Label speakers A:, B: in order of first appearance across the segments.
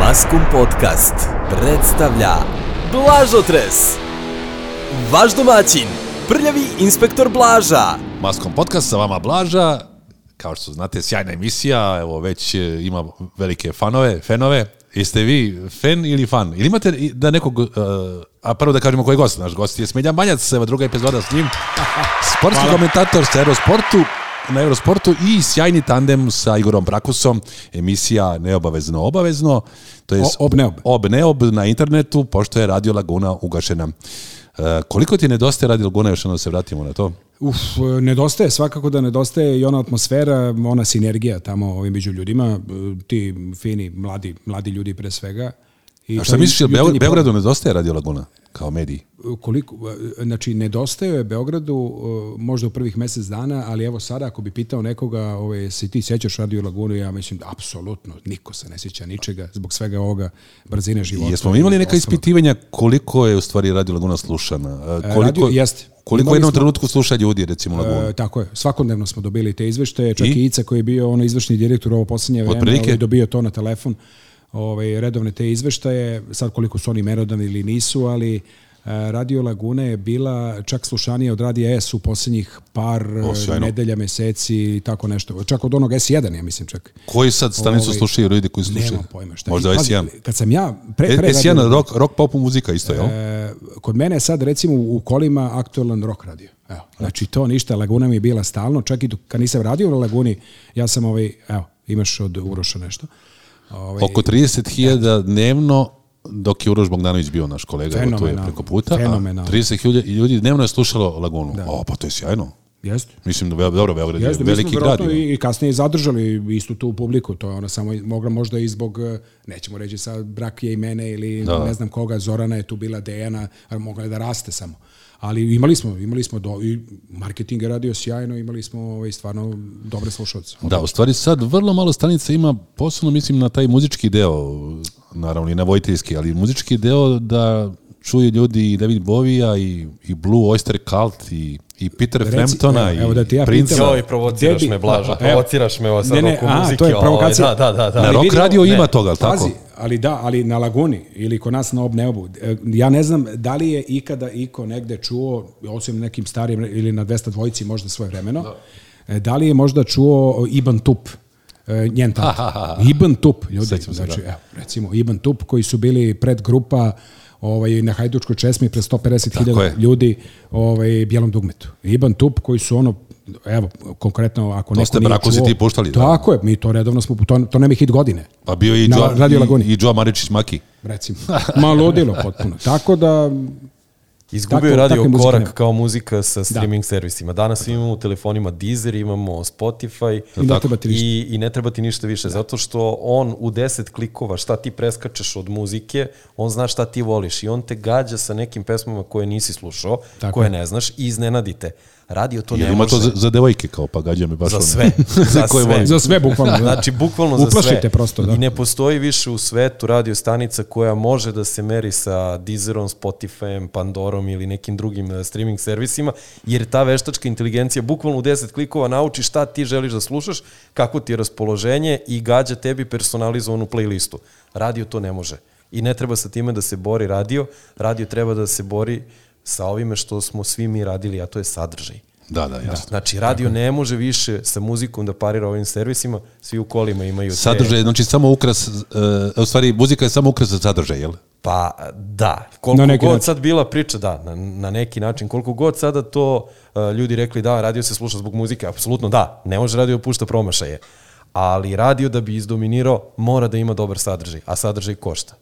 A: Maskum Podcast predstavlja Blažotres Vaš domaćin, prljavi inspektor Blaža
B: Maskom podcast sa vama Blaža, kao što znate, sjajna emisija, evo već e, ima velike fanove, fenove. Jeste vi fen ili fan? Ili imate i- da nekog, e, a prvo da kažemo koji je gost, naš gost je Smelja Manjac, evo druga epizoda s njim, sportski komentator sa Eurosportu, na Eurosportu i sjajni tandem sa Igorom Brakusom, emisija Neobavezno obavezno, to je
C: O- ob neob.
B: Obneob na internetu, pošto je Radio Laguna ugašena. E, koliko ti nedostaje Radio Laguna, još jednom da se vratimo na to?
C: Uf, e, nedostaje, svakako da nedostaje i ona atmosfera, ona sinergija tamo ovim među ljudima, e, ti fini, mladi, mli ljudi pre svega. I
B: A
C: to
B: šta
C: je
B: misliš, jel
C: jutarnji
B: Beograd, Beogradu nedostaje Radio Laguna kao mediji?
C: program. Koliko, e, znači, nedostajao je Beogradu e, možda u prvih mesec dana, ali evo sada ako bi pitao nekoga, ovaj, se ti sećaš Radio Lagunu, ja mislim da apsolutno niko se ne sjeća ničega zbog svega ovoga brzine života.
B: Jesmo mi imali neka
C: Ostalog.
B: ispitivanja koliko je u stvari Radio Laguna slušana? E, Koliko,
C: radio- jeste.
B: Koliko u
C: Imali
B: jednom
C: smo-
B: trenutku sluša ljudi, recimo Laguna?
C: E, tako je. Svakodnevno smo dobili te izveštaje. Čak
B: I?
C: i, Ica koji je bio ono izvršni direktor u ovo poslednje vreme,
B: Otprilike?
C: ovaj, dobio to na telefon. Ovaj, redovne te izveštaje, sad koliko su oni merodavni ili nisu, ali e, Radio Laguna je bila čak slušanija od Radija S u poslednjih par e,
B: O, sjajno.
C: nedelja, meseci i tako nešto. Čak od onog S1, ja mislim čak.
B: Koji sad stanicu
C: ovaj,
B: slušaju ljudi koji slušaju?
C: Nemam pojma šta.
B: Možda
C: I, pazi,
B: S1.
C: Kad sam ja... Pre, pre
B: E,
C: Radio
B: S1, rock, rock pop muzika isto, jel?
C: E, kod mene je sad recimo u kolima aktualan rock radio. Evo, znači to ništa, Laguna mi je bila stalno, čak i dok- kad nisam radio u Laguni, ja sam ovaj, evo, imaš od Uroša nešto. Ovaj,
B: Oko 30.000 dnevno dok je Uroš Bogdanović bio naš kolega, evo, to je
C: Fenomenalno.
B: preko puta. a
C: Fenomenalno.
B: 30.000 ljudi dnevno je slušalo Lagunu. O, pa to je sjajno.
C: jeste.
B: Mislim da, Be- dobro, Beograd je
C: Jeste, mi smo
B: veliki grad.
C: verovatno
B: ima.
C: i, i kasnije zadržali istu tu publiku, to je ona samo mogla možda i zbog, eh, nećemo reći sad brak je i mene ili
B: Da.
C: ne znam koga, Zorana je tu bila, Dejana, a mogla je da raste samo. Ali imali smo, imali smo do, i marketing je radio sjajno, imali smo ovaj, stvarno dobre slušalce.
B: Da, u stvari sad vrlo malo stanica ima, posebno mislim na taj muzički deo, naravno i na vojiteljski, ali muzički deo da čuje ljudi i David Bovija i, i Blue Oyster Cult i, i Peter
C: Reci-
B: Framptona i
C: evo, evo da ti ja
B: Princa.
C: pitam.
D: Joj, provociraš
C: Debi-
D: me, Blaža,
C: Evo.
D: provociraš me ovo sad
C: Ne, ne,
D: oko
C: a,
D: muzike.
C: to je
D: ovaj,
C: provokacija.
D: Da, da, da. da.
B: Na
C: Ali
B: rock
C: vidimo-
B: radio
C: ne,
B: ima toga, ali tako?
C: Pazi, ali da, ali na Laguni ili kod nas na Obneobu. E, Ja ne znam da li je ikada iko negde čuo, osim nekim starim ili na 202-ci možda svoje vremeno, da. da li je možda čuo Iban Tup, e, njen tata. Iban Tup, ljudi, znači, evo, recimo Iban Tup koji su bili predgrupa ovaj, na Hajdučkoj česmi pre
B: Tako je.
C: 150.000 ljudi ovaj, bijelom dugmetu. Iban Tup koji su ono, evo, konkretno, ako neko
B: ste
C: nije
B: Brakosi
C: čuo-
B: ti puštali, da.
C: Tako je, mi to redovno smo, to, to nam je hit godine
B: Pa bio je i
C: Na
B: Joa,
C: Radio Laguni.
B: i, i Joa Maričić Maki.
C: recimo. Ma ludilo potpuno. Tako da,
D: Izgubio je
C: Tako-
D: radio
C: takve muzike
D: korak
C: nema.
D: kao muzika sa streaming servisima. Danas svi imamo u telefonima Deezer, imamo Spotify
C: I ne treba ti ništa.
D: i, i ne treba ti ništa više, zato što on u 10 klikova šta ti preskačeš od muzike, on zna šta ti voliš i on te gađa sa nekim pesmama koje nisi slušao,
C: Tako
D: koje
C: je.
D: ne znaš i iznenadite. Radio to
B: Jer
D: ne
B: ima to
D: može.
B: za, za devojke kao, pa gađa me baš
D: Za
B: ono.
D: sve. Za
B: koje
D: sve.
B: volim.
C: za sve bukvalno. da.
D: Znači, bukvalno za sve.
C: Uplašite prosto, da.
D: I ne postoji više u svetu radio stanica koja može da se meri sa Deezerom, Spotifyem, Pandorom ili nekim drugim eh, streaming servisima, jer ta veštačka inteligencija bukvalno u 10 klikova nauči šta ti želiš da slušaš, kako ti je raspoloženje i gađa tebi personalizovanu playlistu. Radio to ne može. I ne treba sa time da se bori radio, radio treba da se bori sa ovime što smo svi mi radili, a to je sadržaj.
B: Da, da, jasno.
D: Znači, radio ne može više sa muzikom da parira ovim servisima, svi u kolima imaju te...
B: Sadržaj,
C: E.
B: je, znači samo ukras, uh, u stvari muzika je samo ukras za sadržaj, jel?
D: Pa, da. Koliko
C: Na
D: god
C: neki način.
D: sad bila priča, da, na, na neki način. Koliko god sada to uh, ljudi rekli da, radio se sluša zbog muzike, apsolutno da, ne može radio da pušta promašaje. Ali radio da bi izdominirao mora da ima dobar sadržaj, a sadržaj košta.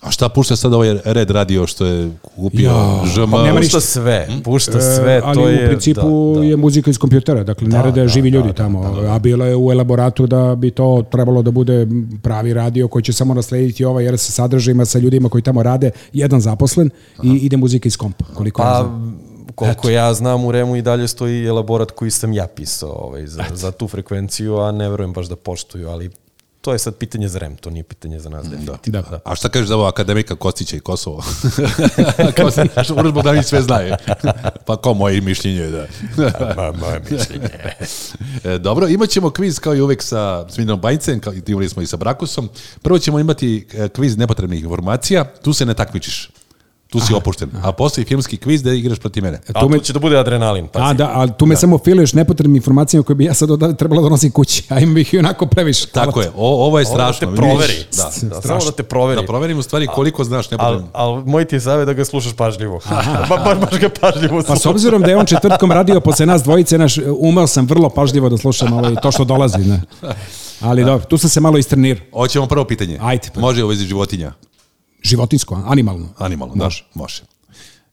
B: A šta pušta sad ovaj Red radio što je kupio
C: Ja,
B: ŽM?
C: pa nema
D: Pušta
C: ništa.
D: sve, pušta
C: E,
D: sve,
C: ali
D: to je...
C: u principu
D: da, da.
C: je muzika iz kompjutera, dakle ne rade živi ljudi tamo, a bilo je u elaboratu da bi to trebalo da bude pravi radio koji će samo naslediti ovaj jer sa sadržajima sa ljudima koji tamo rade, jedan zaposlen i ide muzika iz kompa, koliko ja
D: Pa,
C: znam.
D: koliko ja znam, u Remu i dalje stoji elaborat koji sam ja pisao ovaj, za, za tu frekvenciju, a ne verujem baš da poštuju, ali to je sad pitanje za REM, to nije pitanje za nas. Da.
C: Da.
B: A šta kažeš za ovo akademika Kostića i Kosovo? Kao se naš Uroš Bogdanić sve znaje. pa ko moje mišljenje je da.
D: Ma, moje mišljenje.
B: E, dobro, imat ćemo kviz kao i uvek sa Smiljom Bajcem, kao i imali smo i sa Brakusom. Prvo ćemo imati e, kviz nepotrebnih informacija, tu se ne takmičiš. Tu si opušten. A postoji filmski kviz da igraš protiv mene.
D: A tu će da bude adrenalin. pa
C: A,
D: pazi.
C: da, ali tu me samo filuješ nepotrebnim informacijama koje bi ja sad odavde trebala da nosim kući, a imam ih i onako previše.
B: Tako je, o, ovo je
D: Ovo da
B: strašno.
D: te
B: vidiš?
D: proveri.
B: Da,
D: da, samo da te proveri.
B: da proverim u stvari koliko znaš
D: Ali
B: nepotrebnih.
D: al, moj ti je savjet da ga slušaš pažljivo. Ba, baš, baš ga pažljivo
C: Pa
D: slušaš.
C: s obzirom da je on četvrtkom radio posle nas dvojice, naš, umeo sam vrlo pažljivo da slušam ovaj, to što dolazi. Ne. Ali dobro, tu sam se malo istrenirao.
B: Hoćemo prvo pitanje.
C: Ajde, pa.
B: Može u vezi životinja.
C: Životinsko, animalno.
B: Animalno, da. Može.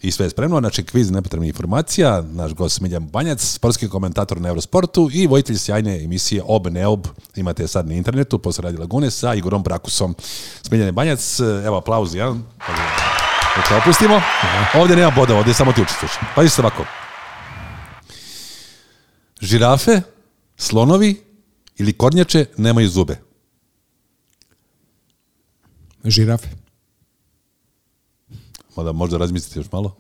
B: I sve je spremno, znači kviz nepotrebnih informacija, naš gost Miljan Banjac, sportski komentator na Eurosportu i vojitelj sjajne emisije Ob Neob, imate je sad na internetu, posle Radi Lagune sa Igorom Brakusom. Smiljane Banjac, evo aplauz jedan. Da te opustimo. Ovdje nema boda, ovdje samo Pa ti učestvuješ. Pazi se ovako. Žirafe, slonovi ili kornjače nemaju zube.
C: Žirafe.
B: Mada možda razmislite još malo.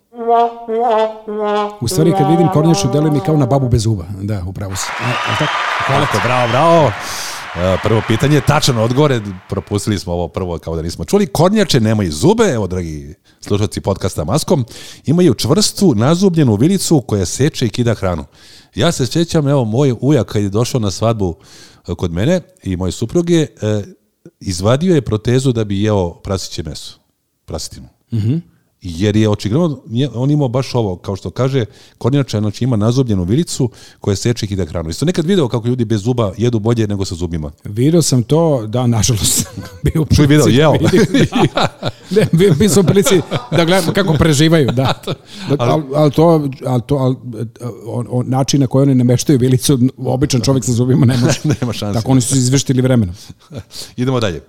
C: U stvari kad vidim kornjaču deluje mi kao na babu bez uba. Da, upravo si. A, a tako?
B: Tako, bravo, bravo. E, Prvo pitanje, tačan odgovor, je, propustili smo ovo prvo kao da nismo čuli. Kornjače nemaju zube, evo dragi slušalci podcasta Maskom, imaju čvrstu nazubljenu vilicu koja seče i kida hranu. Ja se sjećam, evo, moj ujak kad je došao na svadbu e, kod mene i moje supruge, e, izvadio je protezu da bi jeo prasiće meso, prasitinu. Jer je očigledno, nje- on imao baš ovo, kao što kaže, kornjača, znači ima nazubljenu vilicu koja seče i kida hranu. Jeste nekad video kako ljudi bez zuba jedu bolje nego sa zubima?
C: Video E, sam to, da, nažalost. Bio u
B: Čuj video,
C: prilici da
B: jeo.
C: vidim, da. Ne, bio, bio sam u prilici da gledam kako preživaju, da. da ali al to, al to al, on, on, način na koji oni nameštaju vilicu, običan čovjek sa zubima ne može.
B: Nema šanse.
C: Tako oni su izvrštili vremenom.
B: Idemo dalje.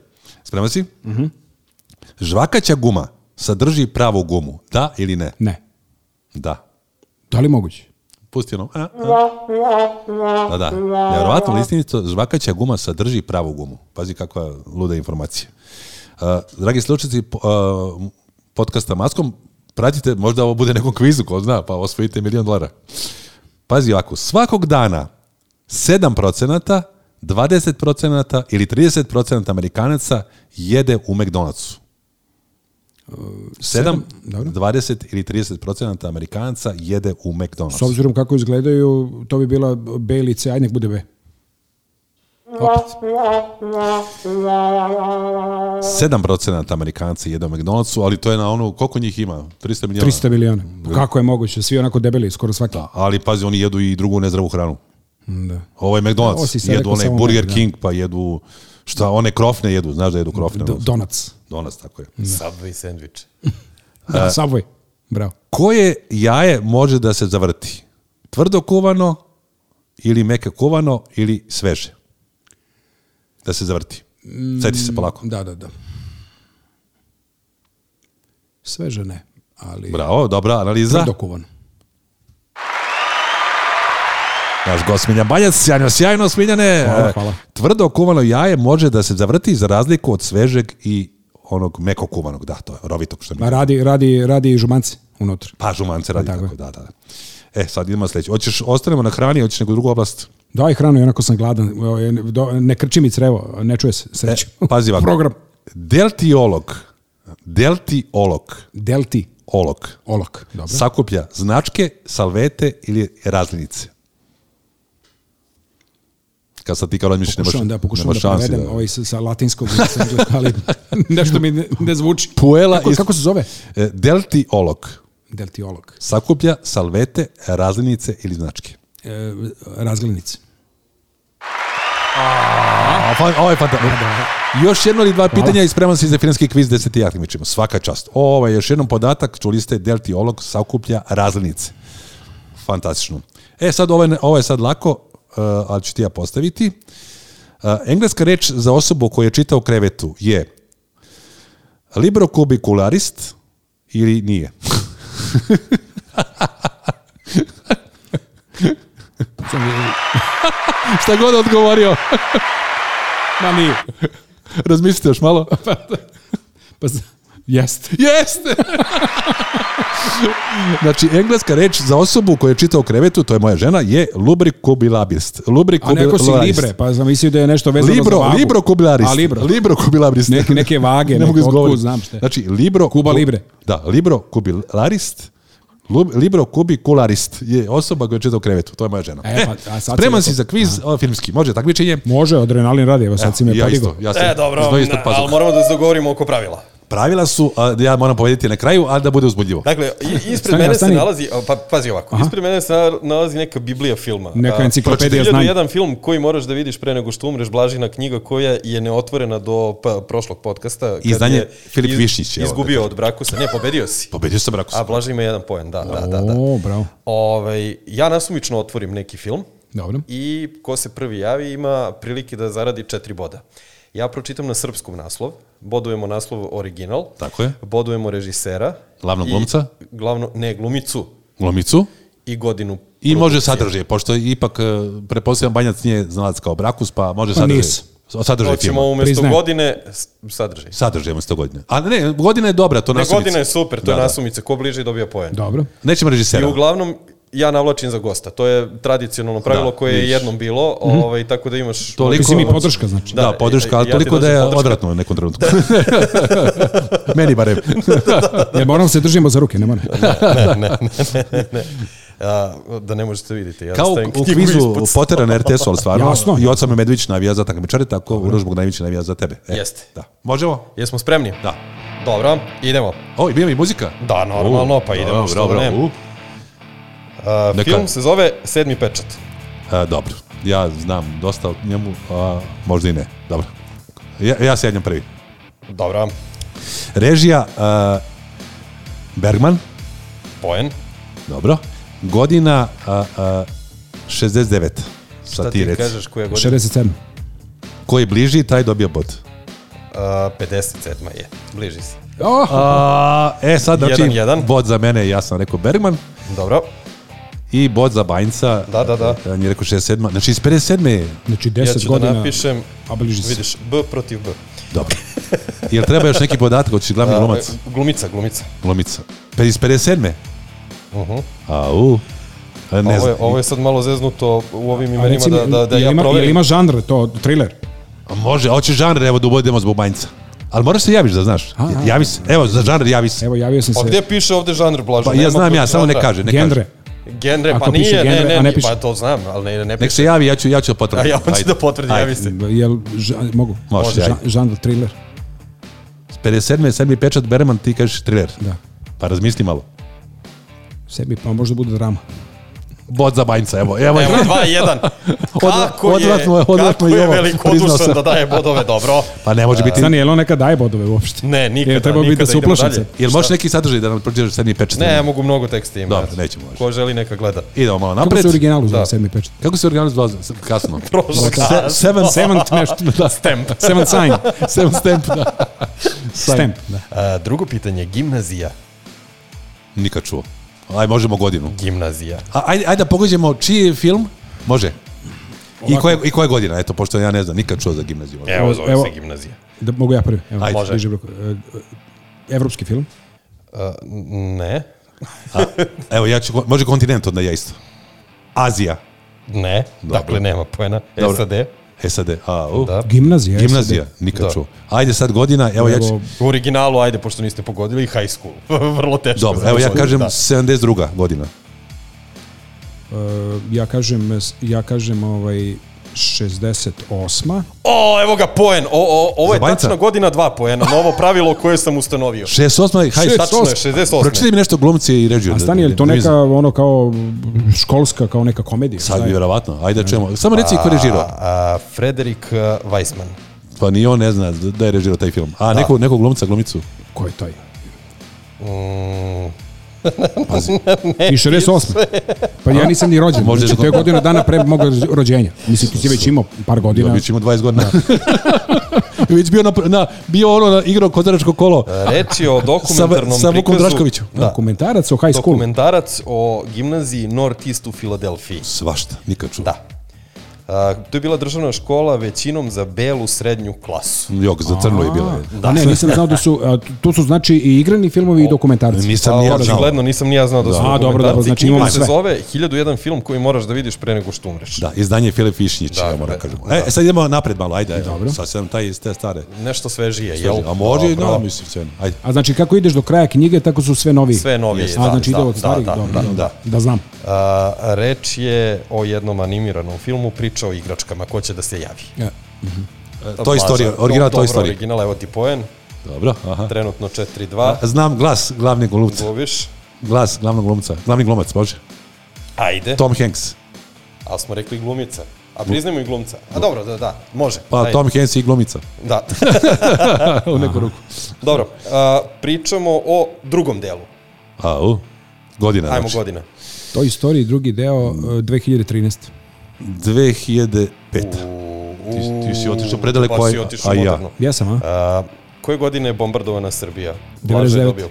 B: Spreman si? Žvakaća guma sadrži pravu gumu, da ili ne?
C: Ne.
B: Da.
C: Da li je moguće?
B: Pusti ono. a, a. Da, da. Nevjerovatno listinito, žvakaća guma sadrži pravu gumu. Pazi kakva luda informacija. Uh, dragi slučajci uh, podcasta Maskom, pratite, možda ovo bude nekom kvizu, ko zna, pa osvojite milion dolara. Pazi ovako, svakog dana 7%, 20% ili 30% Amerikanaca jede u McDonald'su. 7,
C: dobro.
B: 20 ili 30% Amerikanaca jede u McDonald'su.
C: S obzirom kako izgledaju, to bi bila B ili C, aj nek bude B. Opet.
B: 7% Amerikanci jede u McDonald'su, ali to je na onu, koliko njih ima? 300 miliona.
C: 300 miliona. Pa Kako je moguće? Svi onako debeli, skoro svaki.
B: Da, ali pazi, oni jedu i drugu nezdravu hranu.
C: Da.
B: Ovo je
C: Ovo
B: McDonald's,
C: si sad
B: jedu
C: rekao
B: onaj
C: samo
B: Burger
C: Mac, da.
B: King, pa jedu, šta, one krofne jedu, znaš da jedu krofne.
C: Do,
B: ono,
C: donac.
B: Donas, tako je.
D: Subway sandvič.
C: Da, Subway. Bravo.
B: Koje jaje može da se zavrti? Tvrdo kuvano ili meke kuvano ili sveže? Da se zavrti. Sjeti
C: Mm.
B: se polako.
C: Da, da, da. Sveže ne, ali
B: Bravo, dobra analiza.
C: dokovan.
B: Naš gost Smiljan Baljac, sjajno, sjajno, Smiljane.
C: Hvala,
B: E,
C: hvala.
B: Tvrdo kuvano jaje može da se zavrti za razliku od svežeg i onog meko kuvanog, da, to je rovitog što mi
C: Ma radi, radi, radi i žumanci unutra.
B: Pa žumance radi
C: Pa tako
B: tako, da, da. E, sad idemo na sledeće. Hoćeš, ostanemo na hrani, hoćeš neku drugu oblast?
C: Daj hranu, onako sam gladan. O, e, do- Ne krči mi crevo, ne čuje se, sreću.
B: Pazi ovako.
C: E, Program.
B: Deltiolog. Deltiolog.
C: Delti,
B: Olog.
C: olok. Dobro.
B: Sakuplja značke, salvete ili razlinice. Kad sad ti kao razmišljaš, nemaš,
C: Pokušavam da, pokušavam
B: nemaš
C: da
B: šanse
C: prevedem ovaj sa, sa latinskog, sa engleskog, ali nešto mi ne, ne zvuči.
B: Puela
C: kako,
B: iz-
C: kako se zove?
B: E, Deltiolog.
C: Deltiolog.
B: Sakuplja salvete, razlinice ili značke.
C: E, razglednice.
B: A, fa, ovo je fantastično. Još jedno ili dva pitanja i spreman si za finanski kviz deseti takmičimo. Svaka čast. Ovo je još jednom podatak, čuli ste, deltiolog sakuplja razlinice. Fantastično. E sad, ovo je, ovo je sad lako, uh, ali ću ti ja postaviti. Uh, engleska reč za osobu koja čita u krevetu je librokubikularist ili nije? Šta god odgovorio.
C: Ma nije.
B: Razmislite još malo.
C: Pa, z- jeste.
B: Jeste! znači, engleska reč za osobu koja čita u krevetu, to je moja žena, je lubrikubilabist.
C: A neko si
B: Lubrikubilarist.
C: libre, pa sam mislio da je nešto vezano za
B: Libro,
C: vagu.
B: libro kubilarist.
C: A libro.
B: libro kubilarist.
C: Neke- neke vage,
B: ne mogu
C: neko,
B: izgovoriti.
C: otkud znam šta je.
B: Znači, libro...
C: Kuba libre.
B: Da, libro kubilarist. Lub, libro kubikularist je osoba koja čita u krevetu. To je moja žena.
C: E, pa, a sad si
B: Spreman
C: rekao.
B: si za kviz o, filmski. Može, takmičenje.
C: Može, adrenalin radi, evo sad si me
B: Ja
C: podigao.
B: isto. Ja sam
D: E, dobro,
B: izdvojio ispod
D: na-
B: pazuha.
D: ali moramo da se dogovorimo oko pravila.
B: Pravila su a, da ja moram povediti na kraju, a da bude uzbudljivo.
D: Dakle, i- ispred
C: Stani,
D: mene
C: stani.
D: se nalazi, a, pa, pazi ovako, ispred mene se na- nalazi neka biblija filma.
C: Neka
D: A,
C: enciklopedija
D: 1001
C: znanja.
D: jedan film koji moraš da vidiš pre nego što umreš, Blažina knjiga koja je neotvorena do pa, prošlog podcasta. kad
B: Izdanje
D: je
B: Filip Višnjić, evo,
D: Izgubio od Brakusa, ne, pobedio si.
B: Pobedio sam Rakusa.
D: A Blaža ima jedan poen, da, da, da. da.
C: O, bravo.
D: Ovaj, ja nasumično otvorim neki film
C: Dobro.
D: i ko se prvi javi ima prilike da zaradi četiri boda. Ja pročitam na srpskom naslov, bodujemo naslov original,
B: Tako je.
D: bodujemo režisera,
B: Glavnog
D: i
B: glumca?
D: Glavno, ne, glumicu
B: Glomicu.
D: i godinu.
B: I može sadržaj, pošto ipak e, prepostavljam Banjac nije znalac kao Brakus, pa može
C: Pa
B: sadržaj.
C: nis.
B: O sadržaj
D: Hoćemo
B: filma.
D: umesto
C: Priznajem.
D: godine s- sadržaj.
B: Sadržaj umesto godine. A ne, godina je dobra, to
D: Ne,
B: nasumice.
D: godina je super, to
B: Da,
D: je
B: da.
D: nasumice, ko bliže dobija poen.
C: Dobro.
B: Nećemo
D: I
B: režisera.
D: uglavnom, ja navlačim za gosta. To je tradicionalno pravilo
B: Da,
D: koje je
B: vidiš.
D: jednom bilo,
C: Mhm.
D: ovaj, tako da imaš...
B: Toliko-
C: Ti si mi podrška, znači.
B: Da,
D: Da,
B: podrška,
D: ja-
B: ali
D: ja ti
B: toliko da je
D: dođem podrška.
B: odvratno u nekom trenutku. Meni barem.
C: Jer moramo se držimo za ruke, ne moram.
D: A, da ne možete vidjeti. Ja
B: Kao
D: stavim
B: u
D: knjigu
B: kvizu
D: ispod
B: Poteran RTS, ali stvarno.
C: Jasno.
B: I Oca Medvić navija za takmičare, tako Uroš Bogdanović navija za tebe. E,
D: Jeste.
B: Da. Možemo?
D: Jesmo spremni?
B: Da.
D: Dobro, idemo.
B: O, i bio mi muzika?
D: Da, normalno, pa
B: U,
D: idemo,
B: dobro,
D: što
B: dobro,
D: da ne.
B: u.
D: A,
B: Neka.
D: E, film se zove Sedmi pečat.
B: A, E, dobro, ja znam dosta o njemu, a, možda i ne. Dobro. Ja, ja sjednjam prvi.
D: Dobro,
B: Režija a, Bergman,
D: poen.
B: dobro. Godina a, a, 69.
D: Šta ti
B: Satirec.
D: kažeš koja godina?
C: 67.
B: Ko je bliži, taj dobija bod.
D: A, 57. E, je, bliži se.
C: Oh,
B: A, e, sad znači,
D: Jedan, jedan.
B: bod za mene, ja sam rekao Bergman,
D: Dobro,
B: i bod za Bajnca.
D: Da, da, da.
B: On je rekao 67. Znači, iz 57. je,
C: znači
D: ja
C: 10
D: ću
C: godina.
D: da napišem,
C: a bliži se.
D: vidiš, B protiv B.
B: dobro. Jel treba još neki podatak, hoćeš glavni glumac?
D: A, glumica, glumica.
B: Lomica. Pa iz 57.
D: Mhm.
B: Au. A, Ne
D: Ovo je,
B: znam.
D: ovo je sad malo zeznuto u ovim
C: A
D: imenima
C: reci mi,
D: da, da, da
C: jel
D: ja
C: ima, jel
D: proverim.
C: ima žanr to, thriller?
B: A Može, hoće žanr, evo da ubodimo zbog banjca. Ali moraš se javiš da znaš.
C: A, a.
B: Javi se. Evo, za žanr javi se.
C: Evo, javio sam se.
D: Pa gdje piše ovde žanr, Blažo?
B: Pa ja
D: Nema
B: znam
D: tu
B: ja, samo ne
D: žanra.
B: kaže. Ne
C: Genre.
B: Kaže.
D: Genre,
C: Ako
D: pa
C: piše
D: nije, ne,
C: genre,
D: ne,
C: a ne
D: ne,
C: piše.
D: pa to znam, ali ne, ne
B: Nek
D: piše.
B: se javi, ja ću, ja ću potvrditi.
D: A ja hoću
B: Ajde.
D: da potvrdim,
B: Ajde.
D: javi se.
C: Jel, ža, mogu?
B: Može, ajde.
C: Ža, žanr thriller.
B: 57. je sedmi pečat, Berman, ti kažeš thriller.
C: Da.
B: Pa razmisli malo.
C: Sebi, pa možda bude drama.
B: Bod za banjca, evo. Evo,
D: Evo, 2-1. Kako je,
B: odvratno je- odvratno
D: kako
B: je i
D: je
B: ovo, priznao
D: velikodušan
B: sam.
D: da daje bodove, dobro.
B: Pa ne može biti...
C: Stani, jel on nekad daje bodove uopšte?
D: Ne, nikada,
C: Jel trebao bi
D: nikada
C: da se
D: idemo
C: uplašim
D: dalje.
C: se?
B: Jel možeš neki sadržaj da nam prođeš sedmi pečat?
D: Ne, ja mogu mnogo teksta ima.
B: Dobro, nećemo
D: Ko želi neka gleda.
B: Idemo malo
C: Kako
B: napred.
C: se u originalu zove
D: Da.
C: sedmi pečat?
B: Kako se originalu zvao? Kasno.
D: Prošlo
B: Se- Seven,
C: Seventh nešto.
B: da.
D: stamp.
C: Seventh sign.
B: Seven stamp, da.
C: Stamp, da.
D: A, drugo pitanje, gimnazija.
B: Nikad čuo. Aj, možemo godinu.
D: Gimnazija.
B: A, ajde, ajde da pogađamo čiji je film. Može. I koje, I koje godina, eto, pošto ja ne znam, nikad čuo za gimnaziju.
D: Evo, zove
C: evo.
D: se gimnazija.
C: Da mogu ja prvi. Evo,
B: Ajde.
C: Ajde.
B: Može.
C: Može. Evropski film.
D: A, n- ne,
B: Evo, ja ću, može kontinent onda ja isto. Azija,
D: ne,
B: Dobro.
D: dakle nema poena.
B: Dobro.
D: SAD,
B: SAD, a, u.
D: Da.
C: Gimnazija.
B: Gimnazija,
C: SAD.
B: nikad
D: Da.
B: čuo. Ajde sad godina, evo ja ću,
C: Evo,
D: u originalu, ajde, pošto niste pogodili, high school. Vrlo teško.
B: dobro,
D: za
B: evo ja
D: pogoditi,
B: kažem
D: da.
B: 72. godina.
C: e, ja kažem, ja kažem ovaj 68.
D: O, evo ga poen. O, o, ovo
B: Za
D: je
B: Banjca?
D: tačno godina dva poena. Novo pravilo koje sam ustanovio.
B: 68. Hajde,
D: Tačno je, 68.
B: Pročitaj mi nešto glumci i ređu.
C: A stani, je li to neka ono kao školska, kao neka komedija?
B: Sad
C: Šta
B: bi
C: je?
B: verovatno. Ajde da čujemo. Samo reci
D: Pa-
B: ko je režirao.
D: A, Frederik a, Weissman.
B: Pa ni on ne zna da je režirao taj film. A, nekog, nekog glumca, glumicu.
C: Ko je taj?
D: Mm.
B: Pazi.
C: I 68. Pa ja nisam ni rođen.
B: Možda je
C: Znači, to je
B: zbog-
C: godina dana pre mog rođenja. Mislim, ti si već imao par godina.
B: Dobit ćemo 20 godina. Već bio, na, na, bio ono na igrao kozaračko kolo.
D: Reč je o dokumentarnom
B: sa Vukom
D: prikazu.
B: Draškoviću.
D: Da.
C: Dokumentarac o high school.
D: Dokumentarac o gimnaziji Northeast u Filadelfiji.
B: Svašta, nikad čuo.
D: Da. A, A, to je bila državna škola većinom za belu srednju klasu.
B: Jok, za crno je bilo.
C: Da. A ne, nisam znao da su, a, tu su znači i igrani filmovi i dokumentarci.
B: Nisam ni ja znao.
D: Očigledno nisam ni ja znao da su
C: A, dobro, dobro,
D: dokumentarci.
C: znači
D: Knjiga
C: imamo
D: se
C: sve.
D: zove 1001 film koji moraš da vidiš pre nego što umreš.
B: Da, izdanje Filip Višnjić,
D: Da,
B: ja moram
D: da,
B: kažem. E, sad idemo napred malo, ajde. Dobro. Sad sam taj iz te stare.
D: Nešto svežije, jel?
B: A može i
D: Dobro. E,
B: nova, mislim, sve. Ajde.
C: A znači kako ideš do kraja knjige, tako su sve novi.
D: Sve novije,
C: A,
D: da,
C: znači
D: da,
C: ide od
D: da,
C: starih,
D: da,
C: dobro,
D: da,
C: dobro,
D: da.
C: da znam.
D: A, reč je o jednom animiranom filmu, priča o igračkama, ko će da se javi.
B: E, Toy Story, original Toy
D: Dobro,
B: Story.
D: original, evo ti poen,
B: Dobro, aha.
D: trenutno 4-2,
B: Znam glas glavnog glumca.
D: gubiš,
B: Glas glavnog glumca. Glavni glumac, može.
D: ajde,
B: Tom Hanks.
D: ali smo rekli glumica. A priznajmo i glumca. A dobro, da, da, može.
B: Pa
D: ajde.
B: Tom Hanks i glumica.
D: Da,
B: U neku ruku.
D: dobro. A, pričamo o drugom delu.
B: A, u. Godina,
D: Ajmo
B: znači.
D: godina.
C: To je istoriji drugi deo e, 2013.
B: 2005. Ti, ti si otišao predaleko,
D: pa
B: a-
D: si otišao
B: a ja.
D: moderno.
C: Ja sam, a?
D: A, koje godine je bombardovana Srbija? Blaže je
C: 99.
D: dobio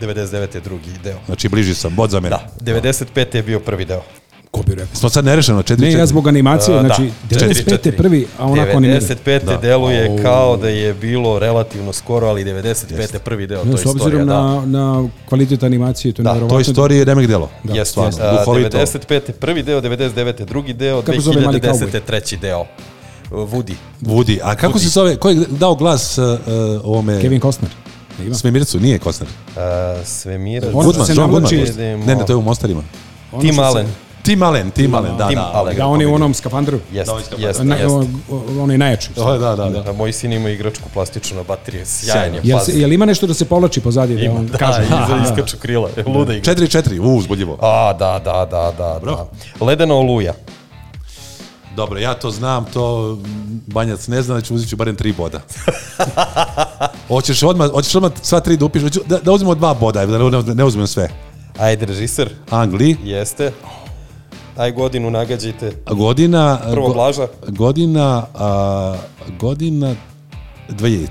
D: 99. je drugi deo.
B: Znači, bliži sam, bod za mene.
D: Da, 95. je bio prvi deo.
C: Ko bi rekao?
B: Smo sad nerešeno, četiri,
C: Ne, ja
B: četiri.
C: zbog animacije,
D: E, Da,
C: znači, 95. je prvi, a onako animira.
D: 95. Da. deluje kao da je bilo relativno skoro, ali 95. je prvi deo, Pa to je
C: Ne, s
D: istorija,
C: obzirom
D: da.
C: na, na kvalitet animacije, to je
D: Da,
C: da,
D: to je
B: Toy
C: nevjerovatno.
B: Story je remek delo.
D: Da, Jeste,
B: stvarno,
D: a,
B: duhovito.
D: 95. je prvi deo, 99. je drugi deo,
C: Kako zove mali
D: 2010. je
C: kauboj?
D: treći deo. Uh, Woody.
B: Woody, a kako se zove, ko je dao glas uh, uh, ovome...
C: Kevin Costner.
B: Svemircu, nije Kostner.
D: A, Svemira.
C: Ono
B: Goodman,
C: se
B: John Goodman.
C: navlači-
B: Ne, ne, to je u Mostarima.
C: Ono
D: Tim
C: što se-
D: Allen.
B: Tim Allen, Tim Allen, da,
D: Tim
B: da.
D: Allen.
C: Da, on je u onom skafandru.
D: Jeste, jeste,
C: Na,
D: jeste.
C: o- o- on je najjači.
B: O, da, da, da.
D: Da, moj sin ima igračku plastičnu na baterije, sjajan
B: Sjajno.
D: je,
C: Jel,
D: pazi.
C: se, jel ima nešto da se povlači pozadije? Da, on
D: Da,
C: kaže,
D: iza iskaču krila, luda igra.
B: 4-4, u, uzbudljivo.
D: A, da, da, da, da, da.
B: Bro.
D: Ledena oluja.
B: Dobro, ja to znam, to Banjac ne zna, znači uzet ću barem tri boda. hoćeš odmah, hoćeš odmah sva tri da upiš, hoću, da, da uzmemo dva boda, da ne, ne uzmem sve.
D: Ajde, režiser,
B: Angli,
D: jeste. Aj godinu nagađajte.
B: godina...
D: Prvo Blaža.
B: Godina, a, godina 2000.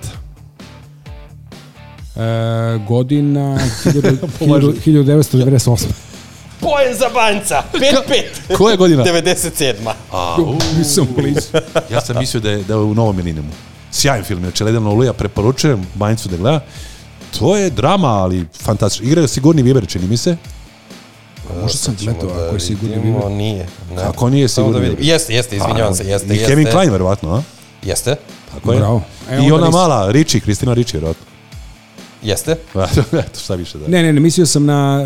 C: e, godina hiljadu- hiljadu- 1998.
D: Poen za banca! 5-5!
B: Koja je godina?
D: 97.
B: A, u,
C: Nisam blizu.
B: ja sam mislio da je, da je u Novom Milinimu. Sjajan film, znači Ledana Oluja, preporučujem Banjicu da gleda. To je drama, ali fantastično. Igraju sigurni Viber, čini mi se.
C: Pa, Možda sam gledao,
D: Pa, Da
C: ako je sigurno
D: vidimo,
C: bilo.
D: nije. Ne.
B: Kako nije
D: Samo
B: sigurno
D: da vidim.
B: bilo?
D: Jeste, jeste, izvinjavam se, jeste,
B: Pa, I
D: jeste.
B: Kevin Klein, verovatno, a?
D: Jeste,
B: Tako je.
C: Bravo. E,
B: I
C: onda
B: ona
C: nisam.
B: mala, Riči, Kristina Riči, verovatno.
D: jeste.
B: Eto, šta više da. Ne.
C: Ne, ne, ne, mislio sam na,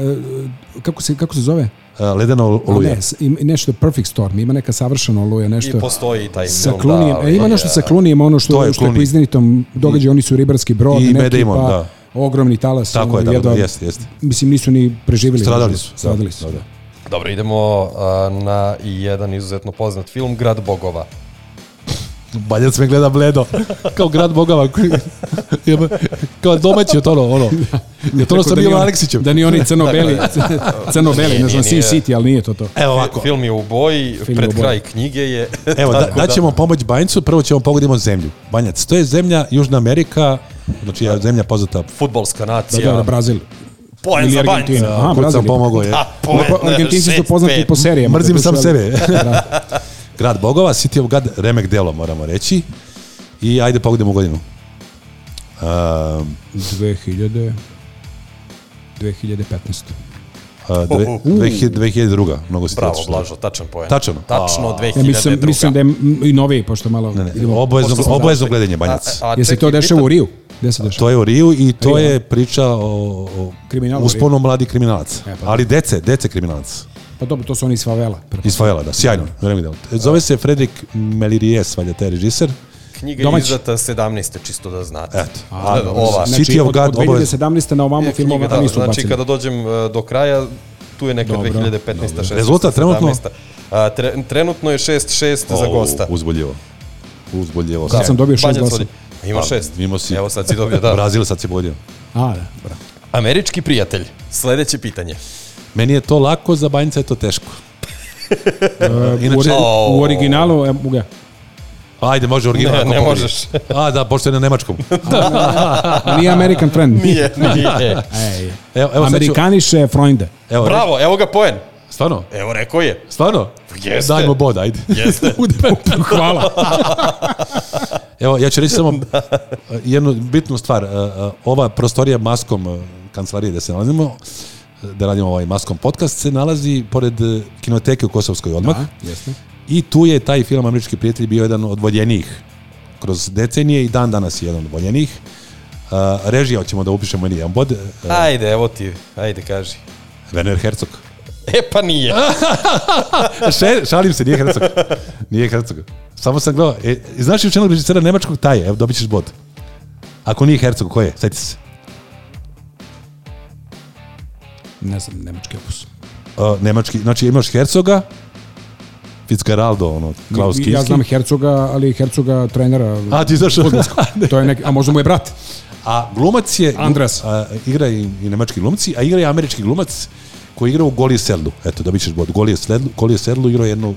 C: e, kako se, kako se zove?
B: Ledana oluja.
C: Ne, s- im- nešto Perfect Storm, ima neka savršena oluja, nešto.
D: I postoji i taj
C: sa
D: film.
C: Klunijem,
D: da, ovaj,
C: e, ima
D: ali,
C: nešto sa
D: a,
C: Klunijem, ono
B: To
C: što, što
B: je
C: je
B: Clooney.
C: po izdenitom događaju, oni su ribarski brod,
B: I
C: neki
B: Matt Damon,
C: pa
B: da.
C: ogromni talas.
B: Tako je, da,
C: jedva-
B: da, jeste, jeste.
C: Mislim, nisu ni preživjeli.
B: Stradali su.
C: Stradali su.
B: Da, da.
D: Dobro, idemo a, na i jedan izuzetno poznat film, Grad bogova.
B: Baljac me gleda bledo, kao grad bogava, koji- kao domaći od ono, ono. Je to ono
C: Tako
B: sa
C: da ni
B: Milan
C: on-
B: Aleksićem.
C: Da ni oni crno-beli, crno-beli, ne znam,
D: Nije, nije.
C: Sin City, ali nije to to.
B: Evo ovako,
D: Film je u boji,
C: E, Film je
D: pred
C: u boji.
D: kraj knjige je...
B: evo, da,
D: Tako
B: daćemo pomoć Banjcu, prvo ćemo pogodimo zemlju. Banjac, to je zemlja Južna Amerika, znači ja, zemlja poznata.
D: Futbolska
C: Da,
D: nacija.
C: da, da, Brazil.
D: Poen
C: Ili
D: za banca.
C: Argentina. Aha,
B: Kud sam
C: Brazil.
B: pomogao je.
D: A,
C: Ali po-
D: poen,
C: Pa, Argentinci su
D: šest,
C: poznati
D: pet.
C: po serijama.
B: Mrzim
C: to
B: sam
C: su-
B: sebe.
C: Da.
B: Grad bogova, City of God, remek delo, moramo reći. I ajde pogodimo godinu. Um,
C: 2000... 2015.
B: A, dve- 2000 2002. Mnogo si
D: Bravo,
B: točno.
D: Blažo, tačan poen.
B: Tačan?
D: Tačno, 2002.
C: Ja mislim, mislim da je m, i noviji, pošto malo...
B: Ne, ne,
C: idemo-
B: obavezno,
C: pošto sam-
B: obavezno gledanje Banjac.
D: A- e, a
C: Jel se
D: čekaj,
C: to dešava
D: pitam-
C: u Riju? Gde se dešava?
B: to je u Riju i to
C: Riju,
B: je priča o, o
C: Kriminalu u
B: usponu mladi kriminalac.
C: E, pa.
B: Ali dece, dece kriminalac.
C: Pa dobro, to su oni iz favela.
B: Iz Fajela, da, sjajno. vreme delo. Zove se Fredrik Melirijes, valjda taj režiser.
D: Knjiga
C: Domaći.
D: je izdata 17. čisto da znate.
B: Eto.
D: A, ova.
B: City of
C: Znači, od,
B: God,
C: od 2017. na ovamo
D: Je knjiga,
C: filmova da,
D: da,
C: nisu
D: znači
C: bacili.
D: kada dođem e, do kraja, tu je neka
C: Dobro,
D: 2015. 16.
B: Rezultat trenutno?
D: 17.. A, tre, trenutno je 6-6 za
B: O,
D: gosta.
B: Uzbudljivo. Uzbudljivo.
C: Kad sam dobio šest
D: Banjac
C: glasova.
D: vodi. Ima šest.
B: Imao si.
D: Evo sad si dobio, da.
B: Brazil sad si bodio.
C: A, da. bravo.
D: Američki prijatelj. Sledeće pitanje.
B: Meni je to lako, za Banjica je to teško.
C: E, u,
B: Inače-
C: ori- u originalu, e, mu ga.
B: Ajde, može original.
D: Ne,
B: ako
D: ne
B: pobedi.
D: možeš.
B: A, da, pošto je na nemačkom.
C: A nije American Friend.
D: Nije, nije.
C: Ej,
B: Evo, evo sad ću,
C: Amerikaniše Freunde.
B: evo,
D: Bravo, evo ga poen.
B: Stvarno?
D: Evo, rekao je.
B: Stvarno?
D: Jeste.
B: Dajmo bod, ajde.
D: Jeste.
C: Hvala.
B: Evo, ja ću reći samo eh, jednu bitnu stvar. Eh, eh, Ova prostorija maskom eh, kancelarije gde se nalazimo, eh, da radimo ovaj maskom podcast, se nalazi pored eh, kinoteke u Kosovskoj odmah.
C: Jeste.
B: I tu je taj film Američki prijatelj bio jedan od voljenijih kroz decenije i dan danas je jedan od voljenijih. Eh, Režija ćemo da upišemo meni jedan bod. eh,
D: Ajde, evo ti, ajde, kaži.
B: Werner Herzog.
D: E pa nije.
B: Še- šalim se, nije Herzog. Nije Herzog. Samo sam gledao. E, znaš li u čemu režisera Nemačkog taje? Evo, dobit ćeš bod. Ako nije Herzog, ko je? Sjeti se.
C: Ne znam, nemački opus.
B: Uh, nemački, znači imaš Hercoga, Fitzgeraldo, ono, Klaus Kinski.
C: Ja znam Hercoga, ali Hercoga trenera.
B: A, ti znaš.
C: To je neki, a možda mu je brat.
B: a glumac je...
C: Andras.
B: A, igra i, i nemački glumci, a igra i američki glumac koji igra u Golije sedlu. Eto, dobit ćeš bod. Golije sedlu, Golije sedlu igrao je jednu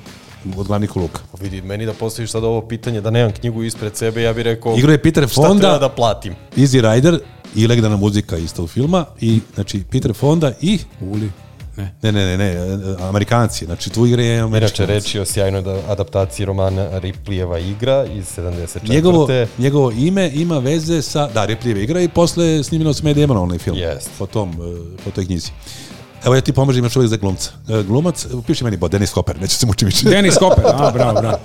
B: od glavnih luka.
D: Vidi, meni da postaviš sad ovo pitanje, da nemam knjigu ispred sebe, ja bih rekao
B: Igrao je Peter
D: šta treba
B: Fonda,
D: da platim.
B: Easy Rider i legendarna muzika isto u filma. I, znači, Peter Fonda i...
C: Uli. Ne.
B: Ne, ne, ne, ne, e, Amerikanci. Znači, tu igra je američki
D: Inače,
B: glumac.
D: reči o sjajnoj da- adaptaciji romana Riplijeva igra iz 74.
B: Njegovo, njegovo ime ima veze sa, da, Replijeve igra i posle je snimljeno s Medemona onaj film.
D: Jest.
B: Po, tom, e, po toj knjizi. Evo ja ti pomožem, imaš uvijek za glumca. E, Glumac, upiši meni bod, Denis Hopper, neće se mučiti više.
C: Denis Koper, a bravo, bravo.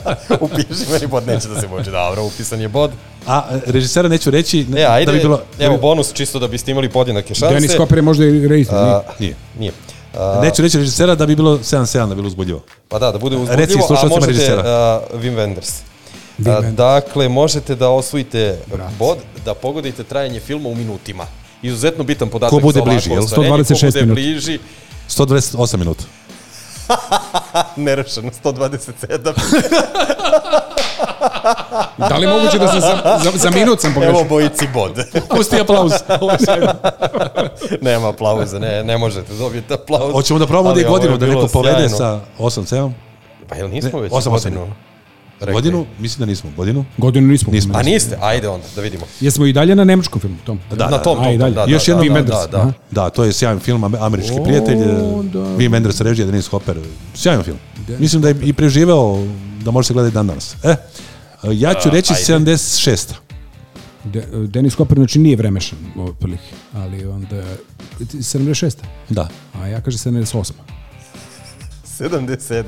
D: Upiši meni bod, neće da se može. Dobro, upisan je bod.
B: A e, režisera neću reći, ne,
D: E, ajde,
B: da bi bilo...
D: evo
B: da bi-
D: bonus čisto da biste imali podjednake šanse.
C: Denis Koper je možda i rejster.
D: A,
B: Nije.
D: Nije. A,
B: Neću reći režisera da bi bilo 7-7, da bi bilo uzbudljivo.
D: pa da, da bude uzbudljivo,
B: Reci
D: a
B: slušalcima
D: možete
B: režisera.
D: a, Wim Wenders.
C: Wim
D: A,
C: Wenders.
D: dakle, možete da osvojite bod, da pogodite trajanje filma u minutima. Izuzetno bitan podatak
B: Ko bude
D: za ovako
B: bliži, jel?
D: ostvarenje,
C: 126
D: Ko bude
C: minuta.
D: bliži,
B: 128 minuta.
D: nerešeno, 127.
C: Da li je moguće da sam za, za, za minut sam
D: Evo
C: pogrešio?
D: bojici bod.
B: Pusti aplauz.
D: Nema aplauza, ne, ne možete dobiti aplauz.
B: Hoćemo da probamo da
D: Ali
B: i
D: ovo je
B: godinu, da
D: bilo
B: neko povede
D: sjajno.
B: sa 8-7.
D: Pa jel nismo
B: Ne,
D: već
B: osam, osam.
D: godinu? Rekli.
B: Godinu? Mislim da nismo. Godinu?
C: Godinu nismo.
B: Nismo.
D: A niste? Ajde onda, da vidimo.
C: Jesmo i dalje na nemačkom filmu, tom.
B: Da,
D: na
B: da,
D: tom,
C: a,
D: tom, tom,
C: i dalje.
D: da,
B: Još
D: da,
B: jednom
D: da,
C: Wim Wenders,
D: da, da.
C: aha.
B: Da, to je sjajan film, Ame- američki prijatelj. Da. Wim Wenders, režija Denis Hopper. Sjajan film. Mislim da je i preživeo, da može se gledati dan danas. E, ja ću reći 76.
C: De, Denis Koper, znači nije vremešan u otprilike, ali onda 76.
B: Da.
C: A ja kažem 78.
D: 77.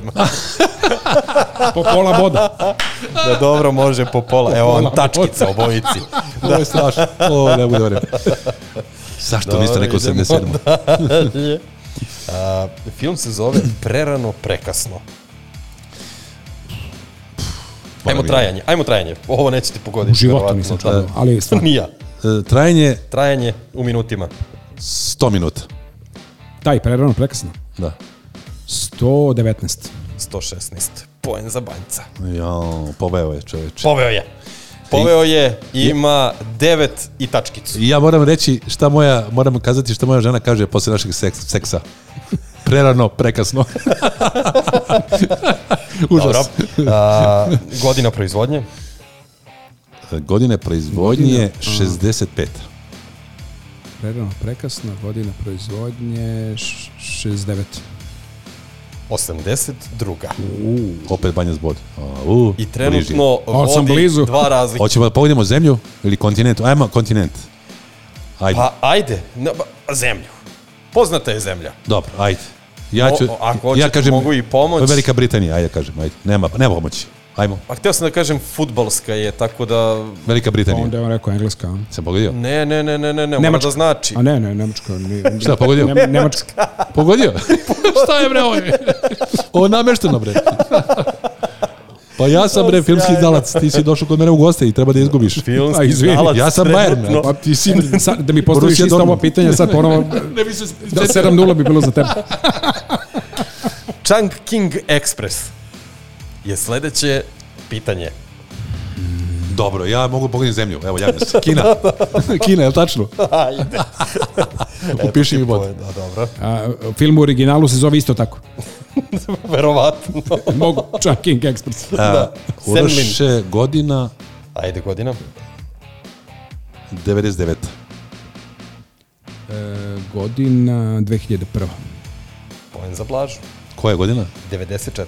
C: Po pola boda.
D: Da dobro može po pola. Evo vam tačkica obojici.
B: Ovo je strašno. O, ne bude vreme. Zašto niste rekao
D: idemo
B: 77?
D: A, film se zove Prerano prekasno. Ajmo trajanje, ajmo trajanje. Ovo nećete pogoditi.
C: U životu
D: verovatno.
C: nisam čuo. Ali stvarno.
D: Ni ja.
B: E, Trajanje
D: Trajanje u minutima.
B: 100 minuta.
C: Taj, prerano, prekasno.
B: Da.
C: 119.
D: 116. Poen za banjca.
B: Jo, poveo je čoveče.
D: Poveo je. Poveo je, ima 9 i tačkicu.
B: I ja moram reći šta moja, moram kazati šta moja žena kaže posle našeg seks- seksa. Prerano, prekasno. Užas.
D: Dobro. A, godina proizvodnje.
B: Godine proizvodnje 65.
C: Prerano, prekasno, godina proizvodnje š- 69.
D: 82.
B: Opet banja zbod. U,
D: I trenutno
C: Malo sam
D: vodi
C: blizu.
D: dva razlike.
B: Hoćemo da pogodimo zemlju ili kontinent? Ajmo, kontinent. Ajde,
D: Pa ajde, na, ba, zemlju. Poznata je zemlja.
B: dobro, ajde. Ja
D: O,
B: ću,
D: o, ako hoćete, mogu i pomoć.
B: Velika Britanija, ajde kažem, ajde. Nema, nema pomoći. Ajmo,
D: Pa htio sam da kažem futbalska je, tako da...
B: Velika Britanija.
C: Onda je on rekao engleska. a?
B: Sam pogodio?
D: Ne, ne, ne, ne, ne, ne, mora
C: Nemačka.
D: da znači.
C: A ne, ne, nemačka. Ni,
B: Šta, pogodio?
C: Ne, nemačka.
B: Pogodio? Šta je bre ovo? Ovo je namešteno bre. Pa ja sam bre filmski izdalac, ti si došao kod mene u goste i treba da izgubiš. Pa,
C: A,
D: Filmski
C: izvini,
D: znalac.
B: Ja sam Bayern,
D: trenutno.
B: pa ti si...
C: Sad, da mi postaviš
B: Borussia
C: isto ovo
B: Dortmund.
C: pitanje, sad ponovo...
B: Ne bi se...
C: Da, 7-0 bi bilo za tebe.
D: Chang King Express je sledeće pitanje.
B: Dobro, ja mogu pogoditi zemlju, evo javim se. Kina. Kina, je li tačno?
D: Ajde.
B: Upiši mi bod.
D: Da, dobro.
C: A, film u originalu se zove isto tako.
D: Verovatno.
C: Mogu, čak King Express.
B: Da.
D: Senmin.
B: Uroše godina
D: Ajde, godina.
B: 99.
C: E, godina 2001.
D: Poen Poen za Blažu.
B: Koja je godina?
D: 94.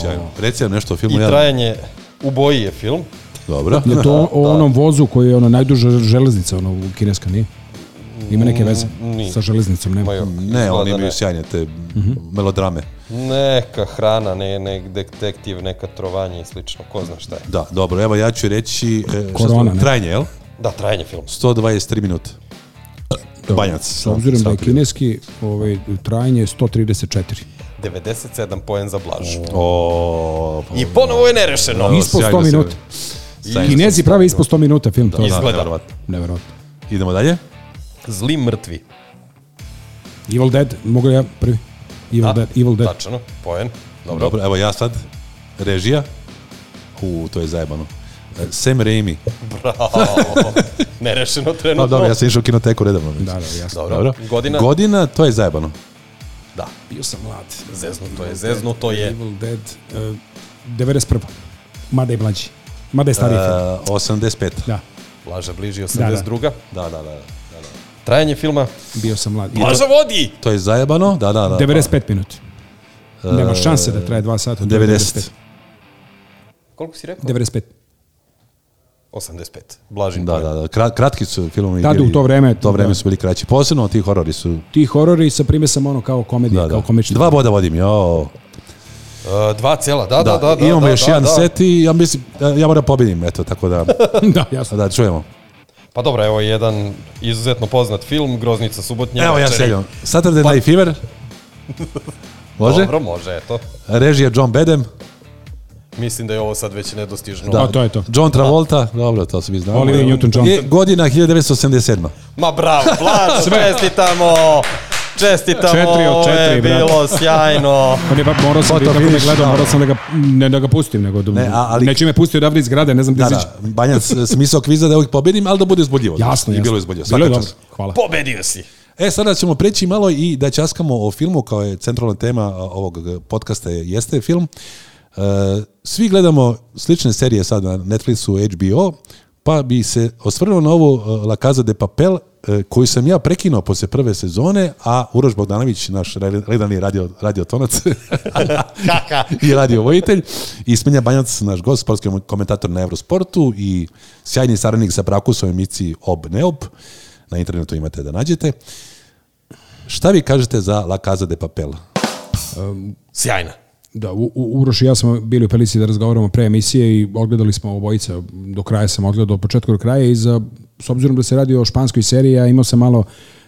B: Sjajno. Reci nam nešto o filmu.
D: I
B: ja-
D: trajanje, u boji je film,
B: Dobro.
C: Je to o onom vozu koji je ono najduža železnica, ono u kineska, nije? Ima neke veze
B: Mm,
D: nije.
C: sa železnicom, nema.
D: Ma jo,
B: Ne,
D: izgleda
B: oni
D: ne.
B: imaju sjajne te melodrame.
D: Neka hrana, ne, ne detektiv, neka trovanje i slično, ko zna šta je.
B: Da, dobro, evo ja ću reći... e, šta
C: Korona,
B: sam-
C: ne?
B: Trajanje, jel?
D: Da, trajanje film.
B: 123 minute.
C: Dobro.
B: Banjac.
C: S obzirom da je
B: Sad-
C: kineski, ovaj, trajanje je 134.
D: 97 poen za
B: Mm.
D: Blažu.
B: O, pa-
D: I ponovo je nerešeno.
B: Evo,
C: Ispod
B: sjajno
C: 100
B: se-
C: minuta.
B: sjajno se-
C: Kinezi prave ispod 100 minuta film, to je
B: Da,
D: Izgleda.
B: nevjerovatno.
C: nevjerojatno.
B: Idemo dalje.
D: Zli mrtvi.
C: Evil Dead, mogu li ja prvi? Evil Dead, Evil Dead.
D: Tačno, poen. Dobro.
B: Dobro, evo ja sad. Režija. U, to je zajebano. E, Sam Raimi.
D: Bravo. Nerešeno trenutno.
B: Pa dobro, ja sam išao u kinoteku redovno.
C: Da, da, jasno.
D: Dobro.
B: Dobro.
D: Godina?
B: Godina, to je zajebano.
D: Da.
C: Bio sam mlad.
D: Zezno to je, zezno to je.
C: Evil Dead, uh, 91. Mada je mlađi. Mada je stariji
B: E,
C: film.
B: 85.
C: Da,
D: Blaža bliži 82.
B: Da, da, da. da.
D: Trajanje filma.
C: bio sam mlad. I
D: Blaža vodi!
B: To je zajebano, da, da, da.
C: 95 minut. Nema
B: Eh,
C: šanse da traje 2 sata. to je
B: 90.
D: Koliko si rekao?
C: 95.
D: 85. Blažin
B: Da,
D: poen.
B: da, da. Krat, kratki su filmovi.
C: Tad
B: bili-
C: u to vreme,
B: To vreme
C: da.
B: su bili kraći. Posebno ti horori su...
C: Ti horori sa prime sam ono kao komedija,
B: Da, da.
C: kao komični.
B: Dva boda vodim, jo.
D: E, dva cela, da, da,
B: Da,
D: da. da
B: imamo
D: da,
B: još
D: da,
B: jedan
D: da.
B: set i ja mislim, e, ja moram da pobedim, eto, tako da,
C: da, jasno.
B: da čujemo.
D: Pa dobro, evo jedan izuzetno poznat film, Groznica subotnja.
B: Evo ja
D: večeri.
B: seljam. Saturday Night Fever. Može?
D: Dobro, može, eto.
B: Režija John Bedem.
D: Mislim da je ovo sad već nedostižno.
C: Da. A, to je to.
B: John Travolta. Dobro, to svi znamo.
C: Oliver Newton-John.
B: Je godina 1987.
D: Ma bravo, Blaž, čestitamo! Čestitamo,
C: Četiri od
D: ovo je
C: četiri, brate.
D: bilo sjajno.
C: On je ba, morao sam da
B: to
C: kako me
B: vidiš,
C: gledao,
B: da.
C: morao sam da ga, ne da ga pustim, nego da,
B: Ne, a- ali-
C: neću me pustio odavde iz grade, ne znam gde
B: Da,
C: da,
B: da, Banjac, smisao kviza da uvijek pobedim, ali da bude uzbudljivo.
C: Jasno,
B: I
C: jasno.
B: bilo je uzbudljivo.
C: Bilo je
B: svaka
C: dobro,
B: čast.
C: hvala.
D: Pobedio si.
B: E, sada ćemo preći malo i da časkamo o filmu, kao je centralna tema a, ovog g- podcasta je- jeste film. E, svi gledamo slične serije sad na Netflixu, HBO, pa bi se osvrnuo na ovu e, La Casa de Papel, e, koju sam ja prekinuo posle prve sezone, a Uroš Bogdanović, naš re- redani radio, radiotonac, i radio vojitelj, i Smenja Banjac, naš gost, sportski komentator na Eurosportu i sjajni saradnik sa Brakusom u emisiji Ob Neob, na internetu imate da nađete. Šta vi kažete za La Casa de Papel?
D: Sjajna.
C: Da, U- U- Uroš i ja smo bili u prilici da razgovaramo pre emisije i ogledali smo obojica, do kraja sam ogledao, od početka do kraja i za, s obzirom da se radi o španskoj seriji, ja imao sam malo,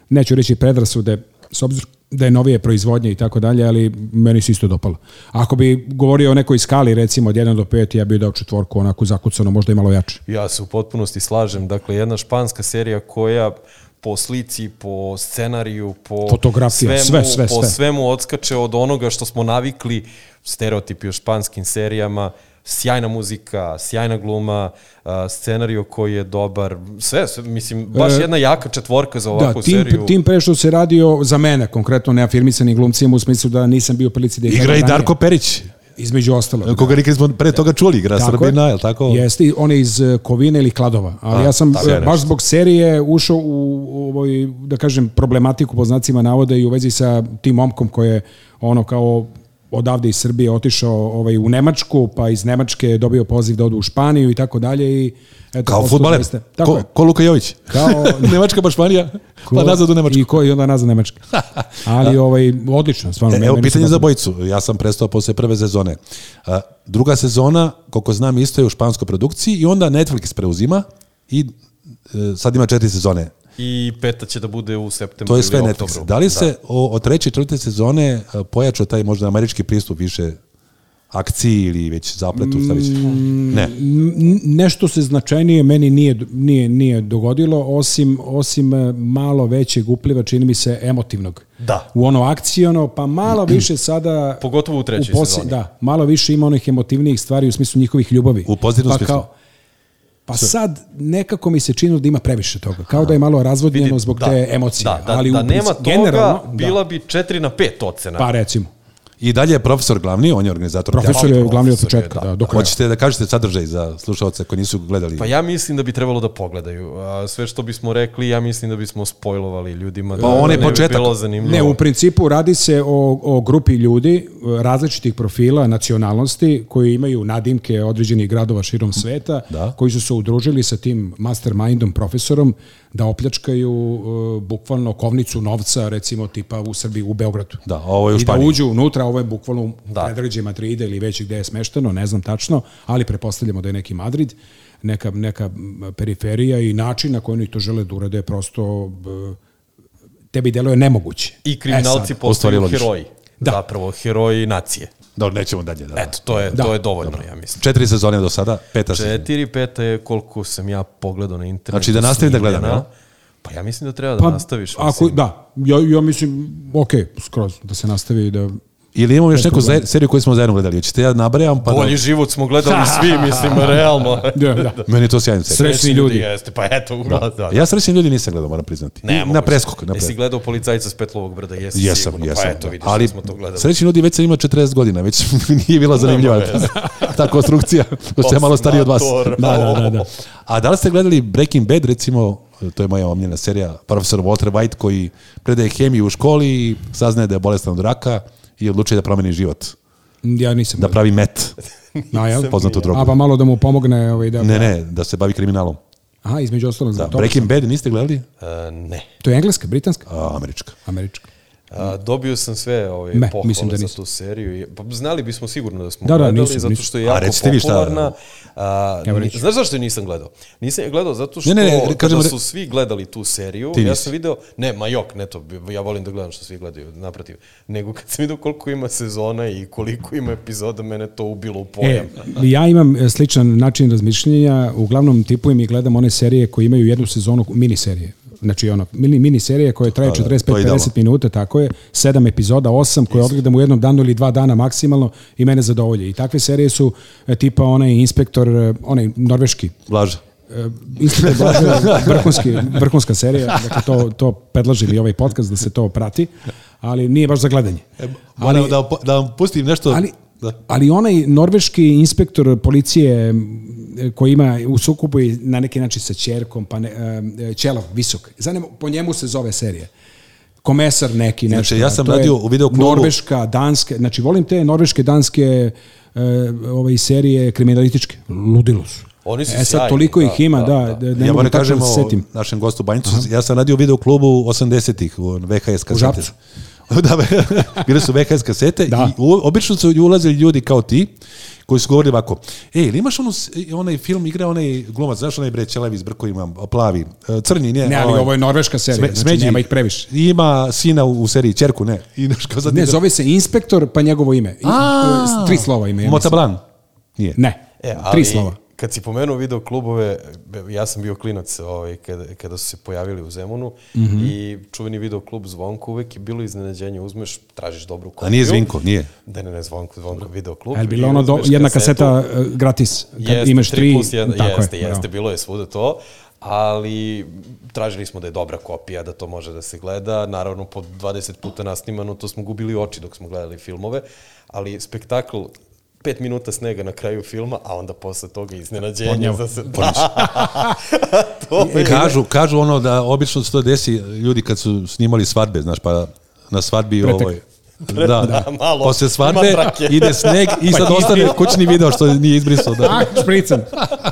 C: neću reći predrasude, s obzirom da je novije proizvodnje i tako dalje, ali meni se isto dopalo. Ako bi govorio o nekoj skali, recimo od 1 do 5, ja bih dao četvorku, onako zakucano, možda i malo jače.
D: Ja se u potpunosti slažem. Dakle, jedna španska serija koja po slici, po scenariju, po
C: Fotografija, sve, sve,
D: po
C: sve.
D: svemu odskače od onoga što smo navikli stereotipi o španskim serijama, sjajna muzika, sjajna gluma, a, scenarijo koji je dobar, sve, sve mislim, baš
C: E,
D: jedna jaka četvorka za
C: Da,
D: ovakvu
C: tim,
D: seriju.
C: tim pre što se radio za mene, konkretno neafirmisanim glumcima, u smislu da nisam bio u prilici da ih
B: Igra i
C: gledam ranije.
B: Darko Perić,
C: Između ostalog.
B: koga nikad smo pre toga čuli, igra
C: Tako
B: Srbina, je li tako?
C: Jeste, i on je iz e, Kovine ili Kladova. Ali ja sam
B: tako
C: e,
B: je
C: baš
B: nešto.
C: zbog serije ušao u, u ovoj, da kažem, problematiku po znacima navoda i u vezi sa tim momkom koji je ono kao odavde iz Srbije otišao ovaj, u Nemačku, pa iz Nemačke je dobio poziv da ode u Španiju i tako dalje. I, eto,
B: Kao
C: postao
B: futbaler,
C: zaista- Tako
B: ko,
C: je.
B: ko Luka Jović.
C: Kao-
B: Nemačka baš Španija, pa
C: Ko-
B: nazad u Nemačku.
C: I koji onda nazad Nemačka. Ali ovaj, odlično, stvarno.
B: E,
C: meni-
B: Evo
C: meni se
B: pitanje za
C: dopalo.
B: bojicu. Ja sam prestao posle prve sezone. A, Druga sezona, koliko znam, isto je u španskoj produkciji i onda Netflix preuzima i e, sad ima četiri sezone.
D: I peta će da bude u septembru
B: To je sve
D: ili
B: Netflix.
D: oktobru.
B: Da li se o, od treće i četvrte sezone e, pojačao taj možda američki pristup više akciji ili već zapletu? Šta već? Ne.
C: N- nešto se značajnije meni nije nije nije dogodilo osim osim e, malo većeg upliva čini mi se emotivnog.
D: Da.
C: U ono akciono, pa malo više sada
D: Pogotovo u trećoj
C: posle-
D: sezoni.
C: Da, malo više ima onih emotivnijih stvari u smislu njihovih ljubavi.
B: U pozitivnom smislu.
C: pa sad nekako mi se čini da ima previše toga. Kao da je malo razvodnjeno zbog te emocije.
D: Da, da,
C: ali
D: ali
C: u
D: da
C: principu-
D: nema toga,
C: generalno, da.
D: bila bi 4 na 5 ocena.
C: Pa recimo.
B: I dalje je profesor glavni, on je organizator.
C: Profesor je
B: teatra.
C: glavni od
D: profesor je,
C: početka, da, do kraja.
B: Hoćete da kažete sadržaj za slušalce koji nisu gledali?
D: Pa ja mislim da bi trebalo da pogledaju. A sve što bismo rekli, ja mislim da bismo spojlovali ljudima.
B: Pa
D: da,
B: on je
D: da ne bi
B: početak.
D: Bilo zanimljivo.
C: Ne, u principu radi se o, o grupi ljudi e, različitih profila, nacionalnosti, koji imaju nadimke određenih gradova širom sveta,
B: Da.
C: koji su se udružili sa tim mastermindom, profesorom, da opljačkaju e, bukvalno kovnicu novca, recimo tipa u Srbiji, u Beogradu.
B: Da, a ovo je u
C: I da
B: Španiji.
C: uđu unutra, ovo je bukvalno u
D: Da.
C: predređe Madrida ili već gde je smešteno, ne znam tačno, ali prepostavljamo da je neki Madrid, neka, neka m, periferija i način na koji oni to žele da urade je prosto b- tebi deluje nemoguće.
D: I kriminalci
C: E sad,
B: ostvarilo
D: postaju
B: više.
D: heroji.
C: Da.
D: Zapravo, heroji nacije.
B: Da, nećemo dalje. Da.
D: Eto, to je,
C: Da.
D: to je dovoljno, ja mislim.
B: Četiri sezone do sada, peta sezona.
D: Četiri, peta je koliko sam ja pogledao na internetu.
B: Znači da nastavim da
D: snimljena.
B: gledam, jel?
D: Pa ja mislim da treba da
C: pa,
D: nastaviš.
C: Ako,
D: mislim.
C: da, ja, ja mislim, ok, skroz, da se nastavi i da...
B: Ili imamo još neku zaj- seriju koju smo zajedno gledali. Hoćete ja nabrajam pa
D: Bolji život smo gledali svi, mislim, realno.
C: Da, da.
B: da... Meni je to sjajna serija.
C: Srećni ljudi.
D: Jeste, pa eto, uglavnom. Da.
B: Ja srećni ljudi nisam gledao, moram priznati. I na
D: moguće.
B: preskok. Na
D: Jesi
B: preskok.
D: gledao policajca s Petlovog brda? Jesi
B: Jesam,
D: sigurno.
B: jesam.
D: Pa eto, vidiš
B: Ali
D: da smo to gledali.
B: srećni ljudi već sam ima 40 godina, već nije bila zanimljiva ta, ta konstrukcija, pošto sam malo stariji od vas.
D: Osmator.
B: Da, da, da, da. A da li ste gledali Breaking Bad, recimo, to je moja omljena serija, profesor Walter White koji predaje hemiju u školi i saznaje da je bolestan od raka i odlučuje da promeni život,
C: Ja nisam...
B: da pravi met,
C: a, jel?
B: poznatu drogu.
C: A pa malo da mu pomogne ovaj, da...
B: Ne, ne, da se bavi kriminalom.
C: Aha, između ostalog,
B: Da,
C: da,
B: Breaking Bad niste gledali?
D: E, ne.
C: to je engleska, britanska,
B: A, američka.
C: američka.
D: A, dobio sam sve ove
C: Ne,
D: pohvale
C: mislim da
D: za
C: nisam.
D: tu seriju. i- Pa, znali bismo sigurno da smo
C: Da, da,
D: gledali,
C: nisam,
D: zato
C: nisam.
D: što je
B: A,
D: jako
B: recite vi šta-
D: popularna. A,
C: Evo
D: ni-
C: reći.
D: znaš zašto je nisam gledao? Nisam je gledao zato što
B: Ne,
D: ne,
B: ne, ne, kažemo
D: kada
B: re-
D: su svi gledali tu seriju,
B: Ti
D: ja
B: nisi.
D: sam video, ne, ma jok, ne to, ja volim da gledam što svi gledaju, naprotiv. Nego kad sam vidio koliko ima sezona i koliko ima epizoda, mene to ubilo u
C: E,
D: pojam.
C: ja imam e, sličan način razmišljenja, uglavnom tipujem i gledam one serije koje imaju jednu sezonu, miniserije. Znači ono, mini, miniserije koje traje
B: da, to je
C: 45-50
B: idealno.
C: minuta, tako je, sedam epizoda, osam, koje odgledam u jednom danu ili dva dana maksimalno i mene zadovolje. I takve serije su e, tipa onaj inspektor, e, onaj norveški,
B: Blaža.
C: E, Inspektor Blaža, vrhunski, vrhunska serija, dakle to, to predlaži i ovaj podcast da se to prati, ali nije baš za gledanje.
B: E, Moram da, vam po- da vam pustim nešto.
C: Ali,
B: da.
C: ali onaj norveški inspektor policije m, koji ima u sukupu i na neki način sa čerkom, pa ne, e, Ćelav, visok. Zanim, po njemu se zove serija. Komesar neki, nešto.
B: Znači, ja sam
C: To je
B: radio u videoklubu-
C: Norveška, danske, znači volim te norveške, danske e, ove serije kriminalističke. Ludilo su.
D: Oni su
C: e sad,
D: sjajni,
C: toliko
D: da,
C: ih ima, da,
D: da,
C: da, ne
B: ja
C: mogu
B: moram
C: tačno
B: kažem
C: da se
B: o
C: setim.
B: našem gostu Banjicu. Ja sam radio u video klubu 80-ih, u ono, VHS kasete.
C: Žabcu.
B: da, bile su VHS kasete
C: Da.
B: i u, obično su ulazili ljudi kao ti koji su govorili ovako, e, ili imaš onu, s- onaj film, igra onaj glumac, znaš onaj bre Čelevi s brkovima, plavi, E, crni, nije.
C: Ne, ali ovo je norveška serija,
B: Sme-
C: znači nema ih previše.
B: Ima sina u, u seriji, čerku, ne. I, znaš, kao sad
C: Ne,
B: igra-
C: zove se inspektor, pa njegovo ime. I,
B: A,
C: e, s- tri slova ime. ja mislim.
B: Motablan. Nije.
C: Ne,
D: E,
C: tri slova.
D: Kad si pomenuo video klubove, be- ja sam bio klinac ovaj, kada, kada su se pojavili u Zemunu
C: Mhm.
D: i čuveni video klub Zvonko uvek je bilo iznenađenje. Uzmeš, tražiš dobru kopiju.
B: A nije Zvinko, nije.
D: Da, ne, ne, Zvonko, Zvonko video klub.
C: A je
D: I
C: bilo ono do,
D: uzmeš
C: jedna
D: kasetu.
C: kaseta e, gratis, kad
D: Jeste,
C: imaš
D: tri
C: tri,
D: plus jedan,
C: tako
D: jeste,
C: je.
D: jeste,
C: bravo.
D: bilo je svuda to, ali tražili smo da je dobra kopija, da to može da se gleda, naravno po 20 puta nasnimano, to smo gubili oči dok smo gledali filmove, ali spektakl 5 minuta snega na kraju filma, a onda posle toga iznenađenje za se... Da. to je...
B: Kažu, kažu ono da obično se to desi ljudi kad su snimali svadbe, znaš, pa na svadbi
C: Pretek.
B: ovoj. Da, da,
D: malo.
B: Posle svadbe
D: Ima trake.
B: ide sneg i
C: Pa
B: sad ostane kućni video što nije izbrisao. Da.
C: A, špricam.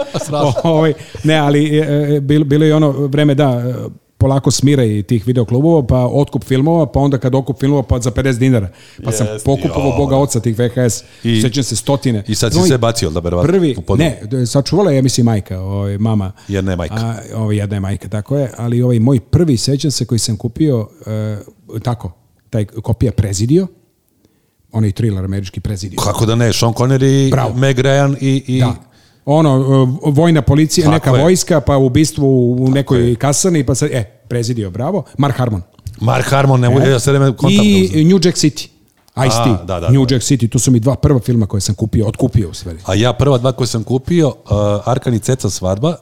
C: ovaj, ne, ali e, e, bilo, bilo je ono vreme da e, polako smira i tih videoklubova, pa otkup filmova, pa onda kad okup filmova, pa za 50 dinara. Pa sam
D: Jeste,
C: pokupovao
D: jo.
C: boga oca tih VHS,
B: I-
C: sećam se stotine.
B: I sad si
C: Znoj,
B: sve bacio, da verovatno.
C: Prvi,
B: u podrum.
C: ne, d- sačuvala je, ja mislim, majka, ovaj, mama.
B: Jedna je majka.
C: A, ovaj, jedna je majka, tako je. Ali ovaj moj prvi, sećam se, koji sam kupio, e, tako, taj kopija Prezidio, onaj thriller američki Prezidio.
B: Kako da ne, Sean Connery,
C: Bravo.
B: Meg Ryan i... i
C: Da. Ono, e, vojna policija,
B: Tako
C: neka
B: je.
C: vojska, pa ubistvo u nekoj kasarni, pa sad, e, Prezidio, bravo. Mark Harmon.
B: Mark Harmon, ne mogu, ja se vreme kontam da
C: E, I
B: uzmem.
C: New Jack City. Ice-T,
B: da, da,
C: New
B: da.
C: Jack City, to su mi dva prva filma koje sam kupio, otkupio u stvari.
B: A ja prva dva koje sam kupio, uh, Arkan i Ceca svadba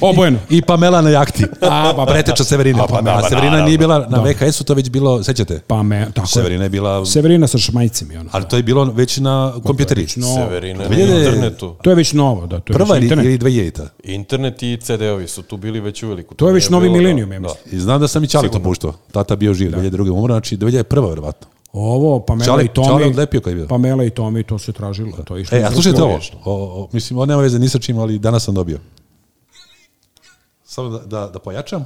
C: Obojeno.
B: i Pamela na jakti.
C: A, pa,
B: Preteča Severine. A,
C: pa, da,
B: a Severina nije bila, na VHS-u to već bilo, sećate?
C: Pa me, tako
B: Severina
C: je.
B: je bila,
C: Severina sa šmajcem i ono.
B: ali to je bilo već na kompjuteri.
C: No,
D: Severina na
B: Vidjeli-
D: internetu.
C: To je već novo, da, to je
B: Prva
C: već
B: ili
C: internet.
B: ili 2000
D: Internet i CD-ovi su tu bili već uveliko.
C: To je već novi milenijum,
D: milenijum,
C: ja mislim.
B: I znam da sam i Čali to puštao. Tata bio živ, 2002. umro, znači 2001. verovatno.
C: Ovo, Pamela
B: Čale-
C: i Tomi.
B: Čale odlepio kad je bio.
C: Pamela i Tomi, to se tražilo. To je išlo
B: E, a
C: za
B: slušajte
C: rukom.
B: ovo. O, o, mislim, ovo nema veze ni sa čim, ali danas sam dobio. Samo da, da, da pojačam.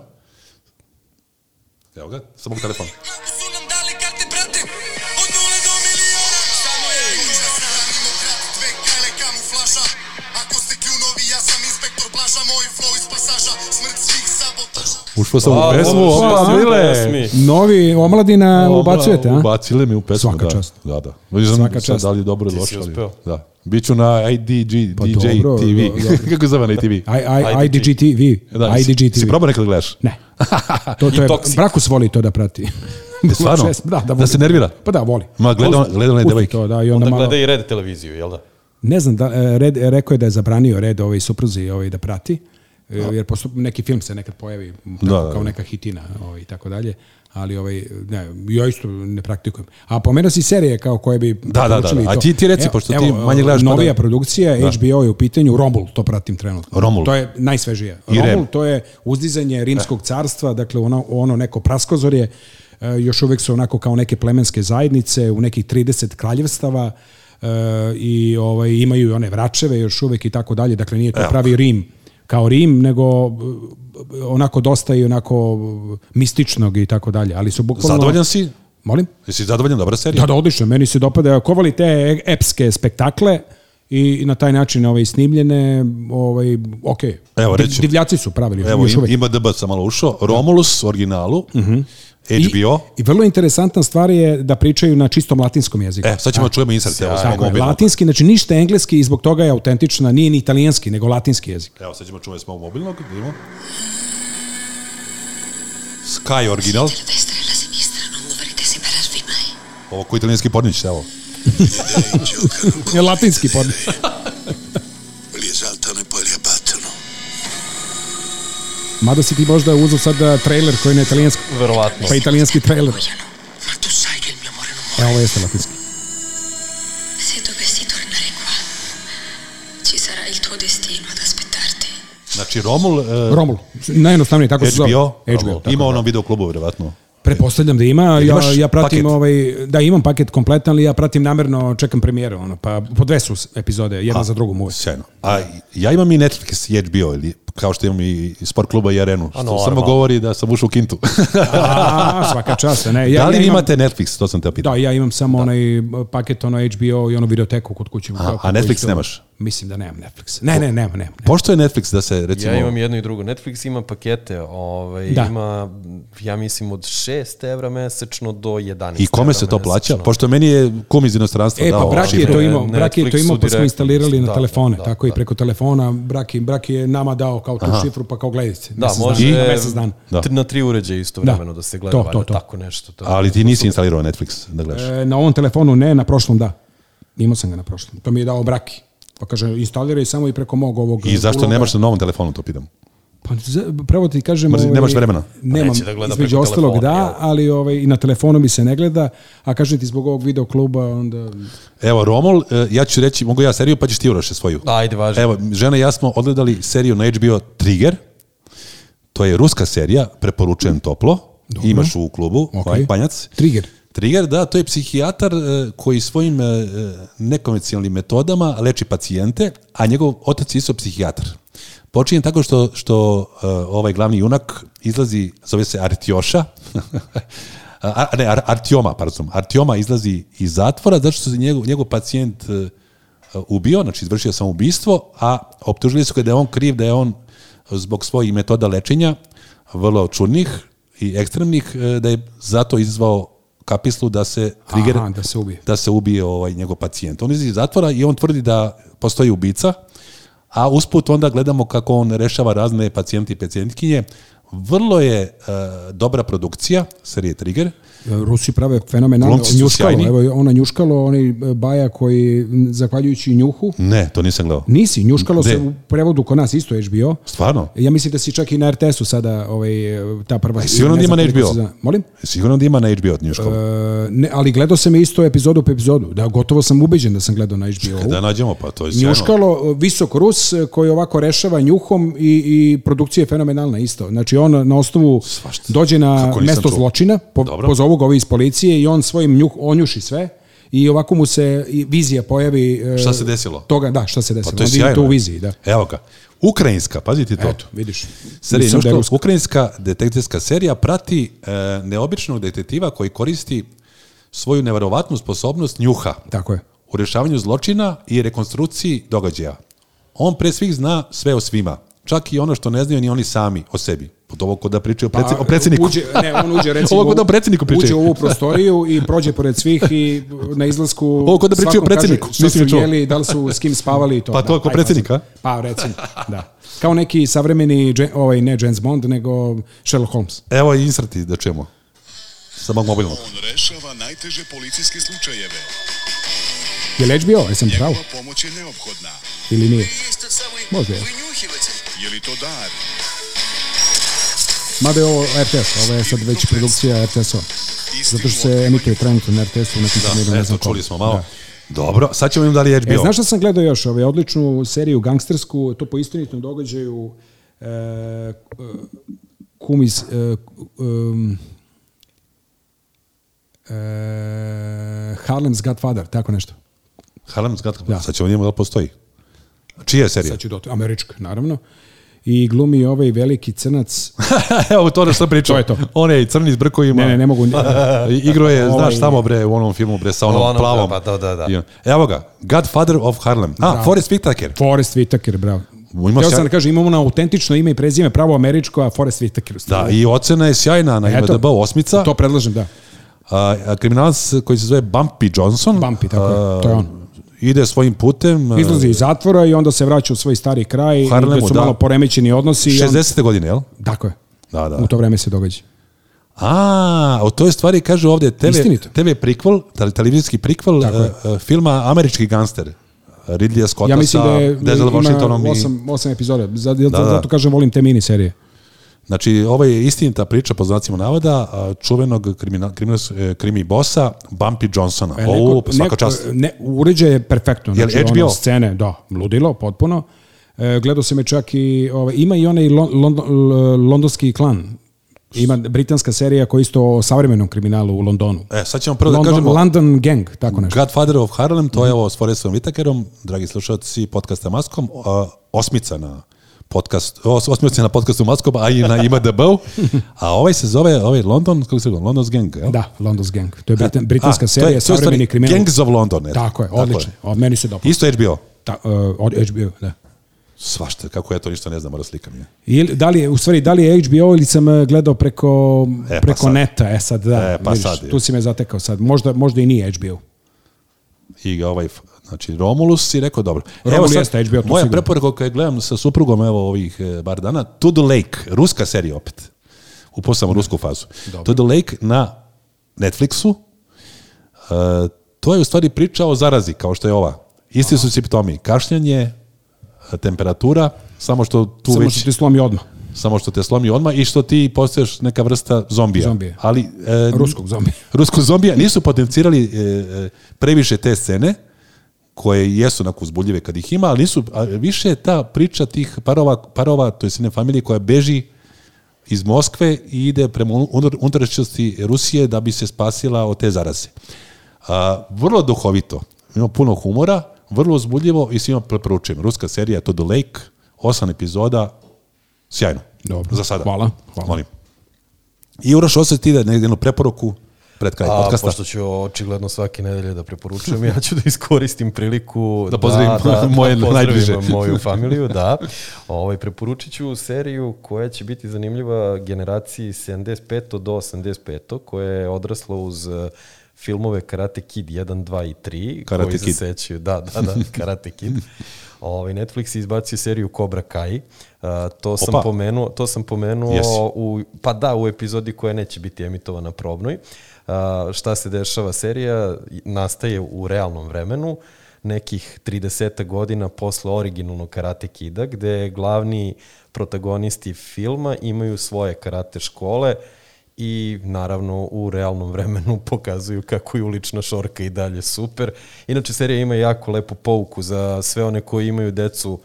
B: Evo ga, sa mog telefona.
E: Kako su nam dali karte, brate? Od nule do miliona. Samo je kuća, hranimo grad, dve kajle kamuflaža. Ako ste kljunovi, ja sam inspektor plaža, moj flow iz pasaža, smrt svih sabotaža.
B: Ušao sam u pesmu,
D: Pa, ovo su
B: opa,
D: sve
B: bile.
D: pesmi.
C: Novi omladina ubacujete, a?
B: Ubacile mi u pesmu,
C: Svaka
B: da.
C: čast.
B: Da, da. Ne znam
C: Svaka
B: sad
C: čast.
B: da li je dobro ili
D: Ti
B: loše.
D: si
B: ali-
D: uspeo.
B: Da. Biću na IDG, DJ
C: Pa dobro,
B: TV.
C: do- dobro.
B: Kako se zove na ITV?
C: I, I, IDGTV.
B: E Da, si- Si
C: IDGTV.
B: probao nekada da gledaš?
C: Ne. To, to je,
D: Toxic.
C: Brakus voli to da prati.
B: Stvarno?
C: da, da,
B: Da
C: voli.
B: se nervira?
C: Pa da, voli.
B: Ma, gledao gledao one
C: Pusti
B: devojke.
C: To, da, i onda,
D: Onda
C: malo,
D: gleda i red televiziju, jel da?
C: Ne znam, da, e, red, e, rekao je da je zabranio red ovaj supruzi ovaj, da prati, e, jer postup, neki film se nekad pojavi tako,
B: Da, da,
C: kao
B: da.
C: neka hitina ovaj, i tako dalje, ali ovaj, ne, ja isto ne praktikujem. A pomenuo si serije kao koje bi
B: da, da,
C: preporučili i
B: da. A
C: to. E,
B: ti- ti reci, pošto ti manje gledaš, pa
C: Novija
B: da-
C: produkcija, HBO je u pitanju, Romul, to pratim trenutno.
B: Romul.
C: To je najsvežija.
B: I Rem.
C: Romul, to je uzdizanje rimskog carstva, dakle ono, ono neko praskozorje, e, još uvek su onako kao neke plemenske zajednice u nekih 30 kraljevstava e, i ovaj, imaju i one vračeve još uvek i tako dalje, dakle nije to pravi Rim kao Rim, nego e, onako dosta i onako e, mističnog i tako dalje, ali su bukvalno...
B: Zadovoljan si?
C: Molim?
B: Jesi zadovoljan? Dobra serija?
C: Da, da, odlično, meni se dopada. Ko voli te epske spektakle i na taj način ovaj, snimljene, ovaj, ok.
B: Evo, reći ću.
C: Divljaci su pravili
B: Evo,
C: još
B: im,
C: uvek. Mhm.
B: ima DB sam malo ušao. Romulus, originalu. HBO.
C: I vrlo interesantna stvar je da pričaju na čistom latinskom jeziku.
B: E, sad ćemo da čujemo insert. Evo, sa mog
C: Tako je,
B: mobila.
C: latinski, znači ništa engleski i zbog toga je autentična, nije ni italijanski, nego latinski jezik.
B: Evo, sad ćemo čuvati s mog mobilnog. da Vidimo. Sky original.
F: De esta es la siniestra, no moverete se para el final.
B: Ovo koji italijanski pornić, evo.
C: Je latinski pod.
E: Li je zaltano i bolje batano.
C: Mada si ti možda uzeo sad a, trailer koji je na italijanski,
D: Verovatno.
C: pa italijanski trailer.
E: Ma tu sai che il mio amore non
C: E, ovo jeste latinski.
F: Se dovessi tornare qua, ci sarà il tuo destino ad aspettarti.
B: Znači, Romul, e,
C: Romul, najjednostavnije, tako se zove.
B: HBO.
C: HBO,
B: Romul.
C: tako.
B: Ima u onom videoklubu, vjerovatno.
C: Prepostavljam da ima, ja,
B: imaš
C: ja pratim
B: paket?
C: ovaj, da imam paket kompletan, ali ja pratim namerno, čekam premijeru, ono, pa po dve su s- epizode, jedna za drugom uvek.
B: Sjajno. A ja imam i Netflix i HBO, ili, kao što imam i sport kluba i arenu. Što
D: normalno.
B: samo govori da sam ušao u kintu.
C: A, svaka čast, E, ne.
B: da li vi
C: imam-
B: imate Netflix? To sam te pitao.
C: Da, ja imam samo onaj paket, ono HBO i ono videoteku kod kuće.
B: a Netflix nemaš?
C: Mislim da nemam Netflix. Ne, ne, nemam, nemam. nemam.
B: Pošto je Netflix da se, recimo...
D: Ja imam jedno i drugo. Netflix ima pakete, ovaj,
C: Da.
D: ima, ja mislim, od 6 evra mesečno do 11
B: I kome
D: evra
B: se to plaća?
D: mesečno.
B: Pošto meni je kum iz inostranstva
C: E,
B: dao
C: pa Braki je to
B: šifru.
C: imao,
D: Ne,
C: Braki je to
D: Netflixu
C: imao, pa smo
D: direktno,
C: instalirali na
D: da,
C: telefone,
D: da,
C: tako i preko telefona, Braki, Braki je nama dao kao tu šifru, pa kao gledajte.
D: Da,
C: mesec
D: može
C: dana, mesec dana.
B: Da.
D: t- na tri uređaja istovremeno da, da se gleda,
C: To,
D: to,
C: to, to.
D: tako nešto. To.
B: Ali ti nisi instalirao Netflix, da gledaš.
C: E, na ovom telefonu ne, na prošlom da. Imao sam ga na prošlom. To mi je dao braki. Pa kaže, instaliraj samo i preko mog ovog...
B: I zašto
C: uloga.
B: nemaš na novom telefonu, to pitam.
C: Pa, za- pravo ti kažem... ovaj,
B: Mrzi- nemaš vremena. Pa
C: Nemam,
D: neće da gleda
C: između
D: preko
C: ostalog
D: telefona,
C: da,
D: jel?
C: ali ovaj, i na telefonu mi se ne gleda, a kažem ti zbog ovog videokluba, onda...
B: Evo, Romol, e, ja ću reći, mogu ja seriju, pa ćeš ti uroše svoju.
D: Ajde, važi.
B: Evo, žena i ja smo odgledali seriju na HBO Trigger. To je ruska serija, preporučujem toplo. Imaš u klubu,
C: Ok.
B: okay. Panjac.
C: Trigger.
B: Trigger, da, to je psihijatar e, koji svojim e, e, nekonvencionalnim metodama leči pacijente, a njegov otac je isto psihijatar. Počinje tako što, što e, ovaj glavni junak izlazi, zove se Artjoša, a, ne, Ar, Artioma, pardon, Artioma izlazi iz zatvora zato što se njegov, njegov pacijent e, ubio, znači izvršio sam ubistvo, a optužili su ga da je on kriv, da je on zbog svojih metoda lečenja, vrlo čudnih i ekstremnih, e, da je zato izvao kapislu da se trigger,
C: Aha, da se ubije.
B: da se ubije ovaj njegov pacijent. On izlazi iz zatvora i on tvrdi da postoji ubica, a usput onda gledamo kako on rešava razne pacijente i pacijentkinje, Vrlo je uh, dobra produkcija, serije Trigger.
C: e, Rusi prave fenomenalno
B: Glumci su
C: njuškalo.
B: sjajni.
C: Evo, ona njuškalo, onaj e, baja koji, m, zahvaljujući njuhu,
B: Ne, to nisam gledao.
C: nisi, njuškalo se
B: Gde?
C: u prevodu kod nas isto HBO.
B: Stvarno?
C: Ja mislim da si čak i na RTS-u sada ovaj, ta prva...
B: Aj, E, sigurno
C: ne
B: da ima
C: znam
B: na
C: koliko
B: HBO?
C: sezona. Molim?
B: Sigurno da ima na HBO od Njuškova.
C: E, ne, ali gledao sam je isto epizodu po epizodu. Da, gotovo sam ubeđen da sam gledao na HBO.
B: da nađemo, pa to je sjajno.
C: Njuškalo, visok Rus e, koji ovako rešava njuhom i, i produkcija je fenomenalna isto. Znači on na osnovu
B: Svašta.
C: dođe na
B: Kako nisam
C: mesto
B: čuo.
C: zločina, po,
B: Dobro.
C: pozovu ga ovi iz policije i on svojim njuh, onjuši sve i ovako mu se i vizija pojavi e,
B: Šta se desilo?
C: toga, da, šta se desilo.
B: Pa to je
C: Onda ide
B: sjajno.
C: to u viziji, da.
B: Evo ga. Ukrajinska, pazite to.
C: Eto, vidiš.
B: Serija
C: Nisam da je
B: Njuškalo,
C: ruska.
B: ukrajinska detektivska serija prati e, neobičnog detektiva koji koristi svoju neverovatnu sposobnost njuha
C: Tako je.
B: u rješavanju zločina i rekonstrukciji događaja. On pre svih zna sve o svima, čak i ono što ne znaju ni oni sami o sebi. Pod ovo kod da pričaju o, preci, o predsjedniku.
C: Pa, e, Uđe, ne, on uđe recimo.
B: Ovo kod da o predsjedniku pričaju.
C: Uđe u ovu prostoriju i prođe pored svih i na izlasku
B: Ovo ko da pričaju
C: svakom
B: o predsjedniku,
C: Kaže,
B: nisi
C: šta
B: mi
C: su
B: čuo.
C: jeli, da li su s kim spavali i to.
B: Pa to ko
C: aj,
B: predsjednik,
C: pazi. Pa recimo, da. Kao neki savremeni, Dže- ovaj, ne James Bond, nego Sherlock Holmes.
B: Evo i inserti da čujemo. Sa mog mobilnog.
E: On rešava najteže policijske slučajeve.
C: Je li HBO, jesam pravo?
E: Njegova pomoć je neophodna.
C: Ili nije?
G: Есть тот самый
C: Можно я?
G: вынюхиватель.
E: Je li to dar?
C: Mada je ovo RTS, ovo je sad već produkcija RTS-a.
E: Istim
C: Zato što se emituje trenutno na RTS-u, nekim da, ne
B: Eto,
C: znam
B: čuli
C: koliko.
B: smo malo.
C: Da.
B: Dobro, sad ćemo im da li je HBO.
C: E, znaš šta sam gledao još? Ovaj, odličnu seriju gangstersku, to po istinitom događaju e, e, kum iz... E, um, e, Harlem's Godfather, tako nešto.
B: Harlem's Godfather.
C: Da.
B: Sad ćemo njemu da li postoji. Čija je serija?
C: Sad ću doti, američka, naravno. I glumi ovaj veliki crnac.
B: Evo to ono što pričam.
C: To je to.
B: On je i crni s brkovima.
C: Ne, ne, ne mogu.
B: I Igro je,
C: Ovaj-
B: znaš, tamo bre, u onom filmu bre, sa onom
D: U onom,
B: plavom.
D: pa da, da, da.
B: I on- E, Evo ga, Godfather of Harlem. A, Forrest Whitaker.
C: Forrest Whitaker, bravo.
B: Ima
C: Htio
B: sjaj-
C: sam da kažem, imamo na autentično ime i prezime, pravo američko, a Forrest Whitaker. u
B: Da,
C: stvari.
B: i ocena je sjajna na
C: Eto.
B: IMDb osmica.
C: To predlažem, da.
B: A, a, kriminalac koji se zove Bumpy Johnson.
C: Bumpy, tako je. To je on.
B: Ide svojim putem. e, a,
C: E, Izlazi iz zatvora i onda se vraća u svoj stari kraj.
B: Harlemu,
C: Harlemu, su
B: da.
C: malo poremećeni odnosi. i on-
B: 60. godine, jel?
C: Tako je.
B: Da, da.
C: U to vreme se događa.
B: A, o toj stvari kaže ovdje TV,
C: Istinito.
B: TV prikvol, tel- televizijski prikvol
C: Tako je.
B: e, e, filma Američki gangster. Ridley Scotta
C: ja mislim
B: sa
C: da je
B: Denzel Washingtonom.
C: ima
B: i-
C: osam, osam epizoda. Zato,
B: da.
C: zato kažem, volim te mini serije.
B: Znači, ovo je istinita priča po znacima navoda a, čuvenog kriminal, kriminal, e, krimi bosa Bumpy Johnsona.
C: E,
B: Ovo, pa svaka
C: neko-
B: čast.
C: Ne, uređaj je perfektno.
B: Jel
C: Znači, ono,
B: HBO?
C: scene, da, ludilo, potpuno. E, gledao sam je čak i, ovaj, ima i onaj Lon- Lon- L- londonski klan. Ima britanska serija koja je isto o savremenom kriminalu u Londonu.
B: E, sad ćemo prvo da
C: London,
B: kažemo
C: London Gang, tako nešto.
B: Godfather of Harlem, to je
C: Mhm.
B: ovo s Forestom Whitakerom, dragi slušalci podcasta Maskom, a, osmica na podcast, os- osmica na podcastu Maskom, a i na IMDB-u. A ovaj se zove, ovaj London, kako se zove, London's Gang, jel?
C: Da, London's Gang. To je
B: A,
C: britan, britanska
B: to
C: serija,
B: je- to je u stvari
C: savremeni kriminal.
B: Gangs of London. jel?
C: Tako je, odlično. O, meni se dopada.
B: Isto HBO.
C: Ta, uh, od HBO, da.
B: Svašta, kako ja to ništa ne znam, moram slikam je.
C: Ili, da li je, u stvari, da li je HBO ili sam e, gledao preko,
B: E, pa
C: preko
B: sad.
C: neta, e sad da,
B: E, pa
C: vidiš,
B: sad je.
C: tu si me zatekao sad, možda, možda i nije HBO.
B: i ga ovaj, znači Romulus i rekao dobro.
C: Romulus jeste HBO, to
B: moja
C: sigurno.
B: preporuka koju gledam sa suprugom evo ovih e, par dana, To the Lake, ruska serija opet. Upao sam u rusku fazu. To the Lake na Netflixu. E, to je u stvari priča o zarazi, kao što je ova. Isti su simptomi, kašljanje, e, temperatura, samo što tu
C: Samo
B: već,
C: što ti slomi odmah.
B: samo što te slomi odmah i što ti postaješ neka vrsta zombija.
C: Zombije.
B: Ali, e,
C: Ruskog zombija.
B: Ruskog zombija nisu potencirali e, e, previše te scene koje jesu onako uzbudljive kad ih ima, ali nisu, a više je ta priča tih parova, parova to je sine familije koja beži iz Moskve i ide prema unutar- unutrašnjosti Rusije da bi se spasila od te zaraze. A, vrlo duhovito, ima puno humora, vrlo uzbudljivo i svima preporučujem. Ruska serija To the Lake, osam epizoda, sjajno.
C: Dobro.
B: Za sada.
C: Hvala, hvala.
B: Molim. I Uroš, osjeti ti da negdje jednu preporuku pred kraj
D: A,
B: podcasta.
D: pošto ću očigledno svake nedelje da preporučujem, ja ću da iskoristim priliku
B: Da pozdravim moje
D: pozdravim
B: najbliže.
D: moju familiju, da. Ovaj, preporučit ću seriju koja će biti zanimljiva generaciji 75. do 85. koja je odrasla uz eh, filmove Karate Kid 1, 2 i 3.
B: Karate
D: koji
B: Kid.
D: Se sećaju, da, da, da, Karate Kid. Ovaj, Netflix je izbacio seriju Cobra Kai. Uh, to, sam
B: Opa.
D: pomenuo, to sam pomenuo
B: Jesi.
D: u, pa da, u epizodi koja neće biti emitovana probnoj. A, šta se dešava serija? Nastaje u realnom vremenu, nekih 30 godina posle originalnog Karate Kida, gde glavni protagonisti filma imaju svoje karate škole i naravno u realnom vremenu pokazuju kako je ulična šorka i dalje super. Inače, serija ima jako lepu pouku za sve one koji imaju decu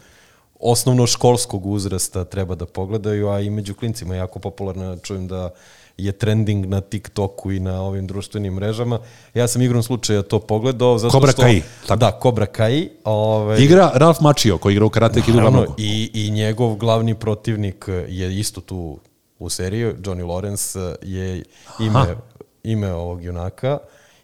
D: osnovno školskog uzrasta treba da pogledaju, a i među klincima je jako popularna, čujem da je trending na TikToku i na ovim društvenim mrežama. Ja sam igrom slučaja to pogledao. Zato
B: Cobra
D: što,
B: Kai, tako?
D: Da, Cobra Kai. Ove,
B: Igra Ralf Mačio koji igra u Karate Kidu
D: Naravno,
B: glavnog.
D: i, I njegov glavni protivnik je isto tu u seriji, Johnny Lawrence je ime, ime ovog junaka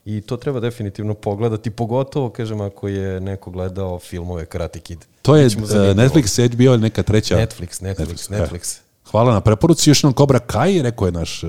D: i to treba definitivno pogledati, pogotovo, kažem, ako je neko gledao filmove Karate Kid.
B: To je
D: Biće mu
B: eh,
D: zanimljivo.
B: Netflix, HBO ili neka treća?
D: Netflix, Netflix,
B: e.
D: Netflix.
B: Hvala na preporuci. Još nam Kobra Kai, rekao je naš eh,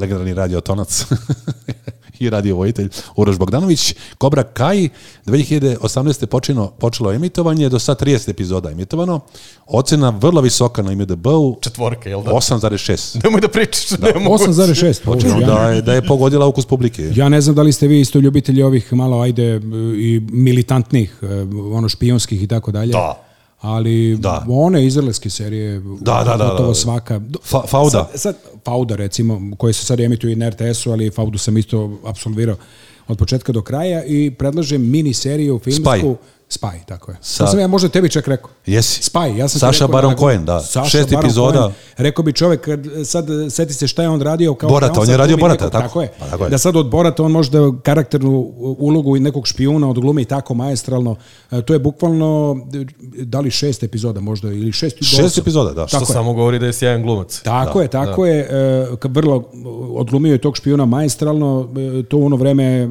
B: legendarni radiotonac i radiovojitelj Uroš Bogdanović. Kobra Kai, 2018. Počino, počelo je emitovanje, do sad 30 epizoda je emitovano. Ocena vrlo visoka na IMDB-u,
D: Četvorka, jel da?
B: 8,6.
D: Nemoj da pričaš, da, nemoguće.
C: 8,6. pa,
B: Očigledno
C: ja-
B: da je, da je pogodila ukus publike.
C: Ja ne znam da li ste vi isto ljubitelji ovih malo, ajde, e, i militantnih, e, ono, špijunskih i tako dalje.
B: Da.
C: Ali
B: Da.
C: one izraelske serije,
B: da, da, da,
C: gotovo
B: da.
C: svaka. Do-
B: Fa- Fauda.
C: Sad, sad Fauda recimo, koji se sad emituju i na RTS-u, ali Faudu sam isto absolvirao od početka do kraja i predlažem mini seriju filmsku
B: Spy.
C: Spy, tako je.
B: Sa-
C: Sa... To sam ja možda tebi čak rekao.
B: Jesi.
C: Spy, ja sam ti
B: Saša
C: rekao
B: Baron
C: nakon-
B: Cohen, da.
C: Saša
B: Šest
C: Baron
B: epizoda.
C: Cohen. Rekao bi čovek, kad sad e, seti se šta je on radio. Kao
B: Borata,
C: da
B: on je
C: sad
B: radio
C: glumi
B: Borata,
C: nekog-
B: tako?
C: tako je.
B: Pa tako je.
C: Da sad od Borata on može da karakternu ulogu i nekog špijuna odglumi i tako maestralno. E, To je bukvalno, e, da li šest epizoda možda, ili šest i do
B: Šest
C: osam.
B: epizoda, da. Što
D: To
C: Tako je.
D: samo govori da je sjajan glumac.
C: Tako je, tako je. E, ka- vrlo e, odglumio je tog špijuna maestralno. e, To u ono vreme e,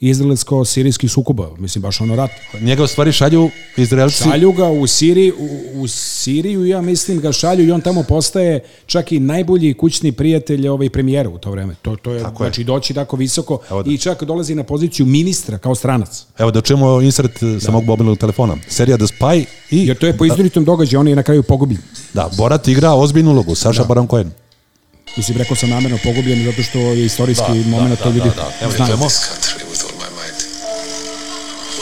C: izraelsko-sirijskih sukoba. Mislim, baš ono rat.
B: Njega u stvari šalju Izraelci.
C: Šalju ga u, Siriji, u, u Siriju, ja mislim ga šalju i on tamo postaje čak i najbolji kućni prijatelj ovaj, premijera u to vreme. To, to je,
B: je.
C: znači, doći tako visoko
B: Evo da.
C: i čak dolazi na poziciju ministra kao stranac.
B: Evo da čujemo insert eh, sa mog mobilnog telefona. Serija The Spy i
C: Jer to je po izvoritom događaju, on je na kraju pogubljen.
B: da, Borat igra ozbiljnu ulogu, Saša Baron Cohen.
C: Mislim, rekao sam namerno pogubljen zato što je istorijski da, moment, to ljudi znaju.
G: country with all my might.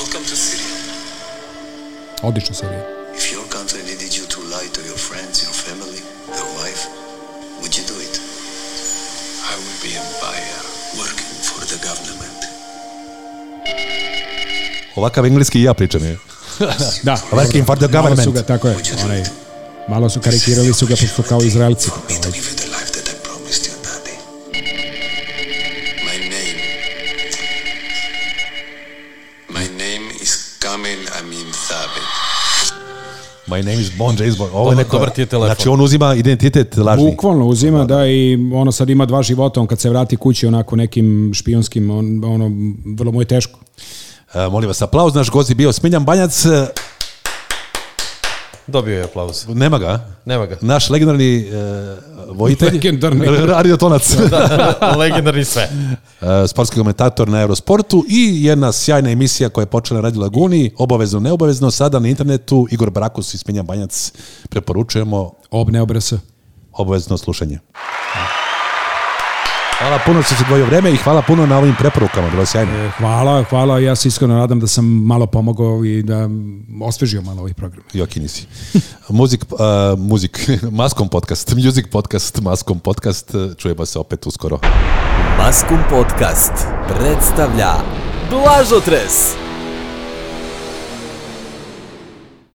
G: Welcome to Syria.
C: Odlična serija.
G: If your country needed you to lie to your friends, your family, your wife, would you do it? I would be a buyer working for the government.
B: Ovakav engleski i ja pričam je.
C: Da,
B: Like in for the
C: malo su
B: government.
C: ga, tako je, onaj, malo su karikirali su ga pošto kao Izraelci.
G: For me to give you the life that I promised your daddy. My name. My name is Kamel Amin Thabit.
B: My name is Bon James Bond. Ovo je
D: Dobar-
B: neko,
D: dobar ti je telefon.
B: Znači on uzima identitet lažni.
C: Bukvalno uzima da i ono sad ima dva života, on kad se vrati kući onako nekim špijunskim, on, ono, vrlo mu je teško.
B: E, molim vas, aplauz. Naš gost je bio Smiljan Banjac. E,
D: Dobio je aplauz.
B: Nema ga. a?
D: Nema ga.
B: Naš legendarni e, vojitelj.
C: Legendarni.
B: Radiotonac.
D: Legendarni sve.
B: E, sportski komentator na Eurosportu i jedna sjajna emisija koja je počela na Radio Laguni, obavezno, neobavezno, sada na internetu, Igor Brakus i Smenja Banjac preporučujemo
C: Ob E, ne obrasa.
B: obavezno slušanje. Hvala puno što si dvojio vreme i hvala puno na ovim preporukama, bilo je sjajno.
C: Hvala, hvala, ja se iskreno nadam da sam malo pomogao i da osvežio malo ovaj program.
B: Joki nisi. Muzik, uh, muzik, maskom podcast, music podcast, maskom podcast, čujemo se opet uskoro.
A: Maskum Podcast predstavlja Blažotres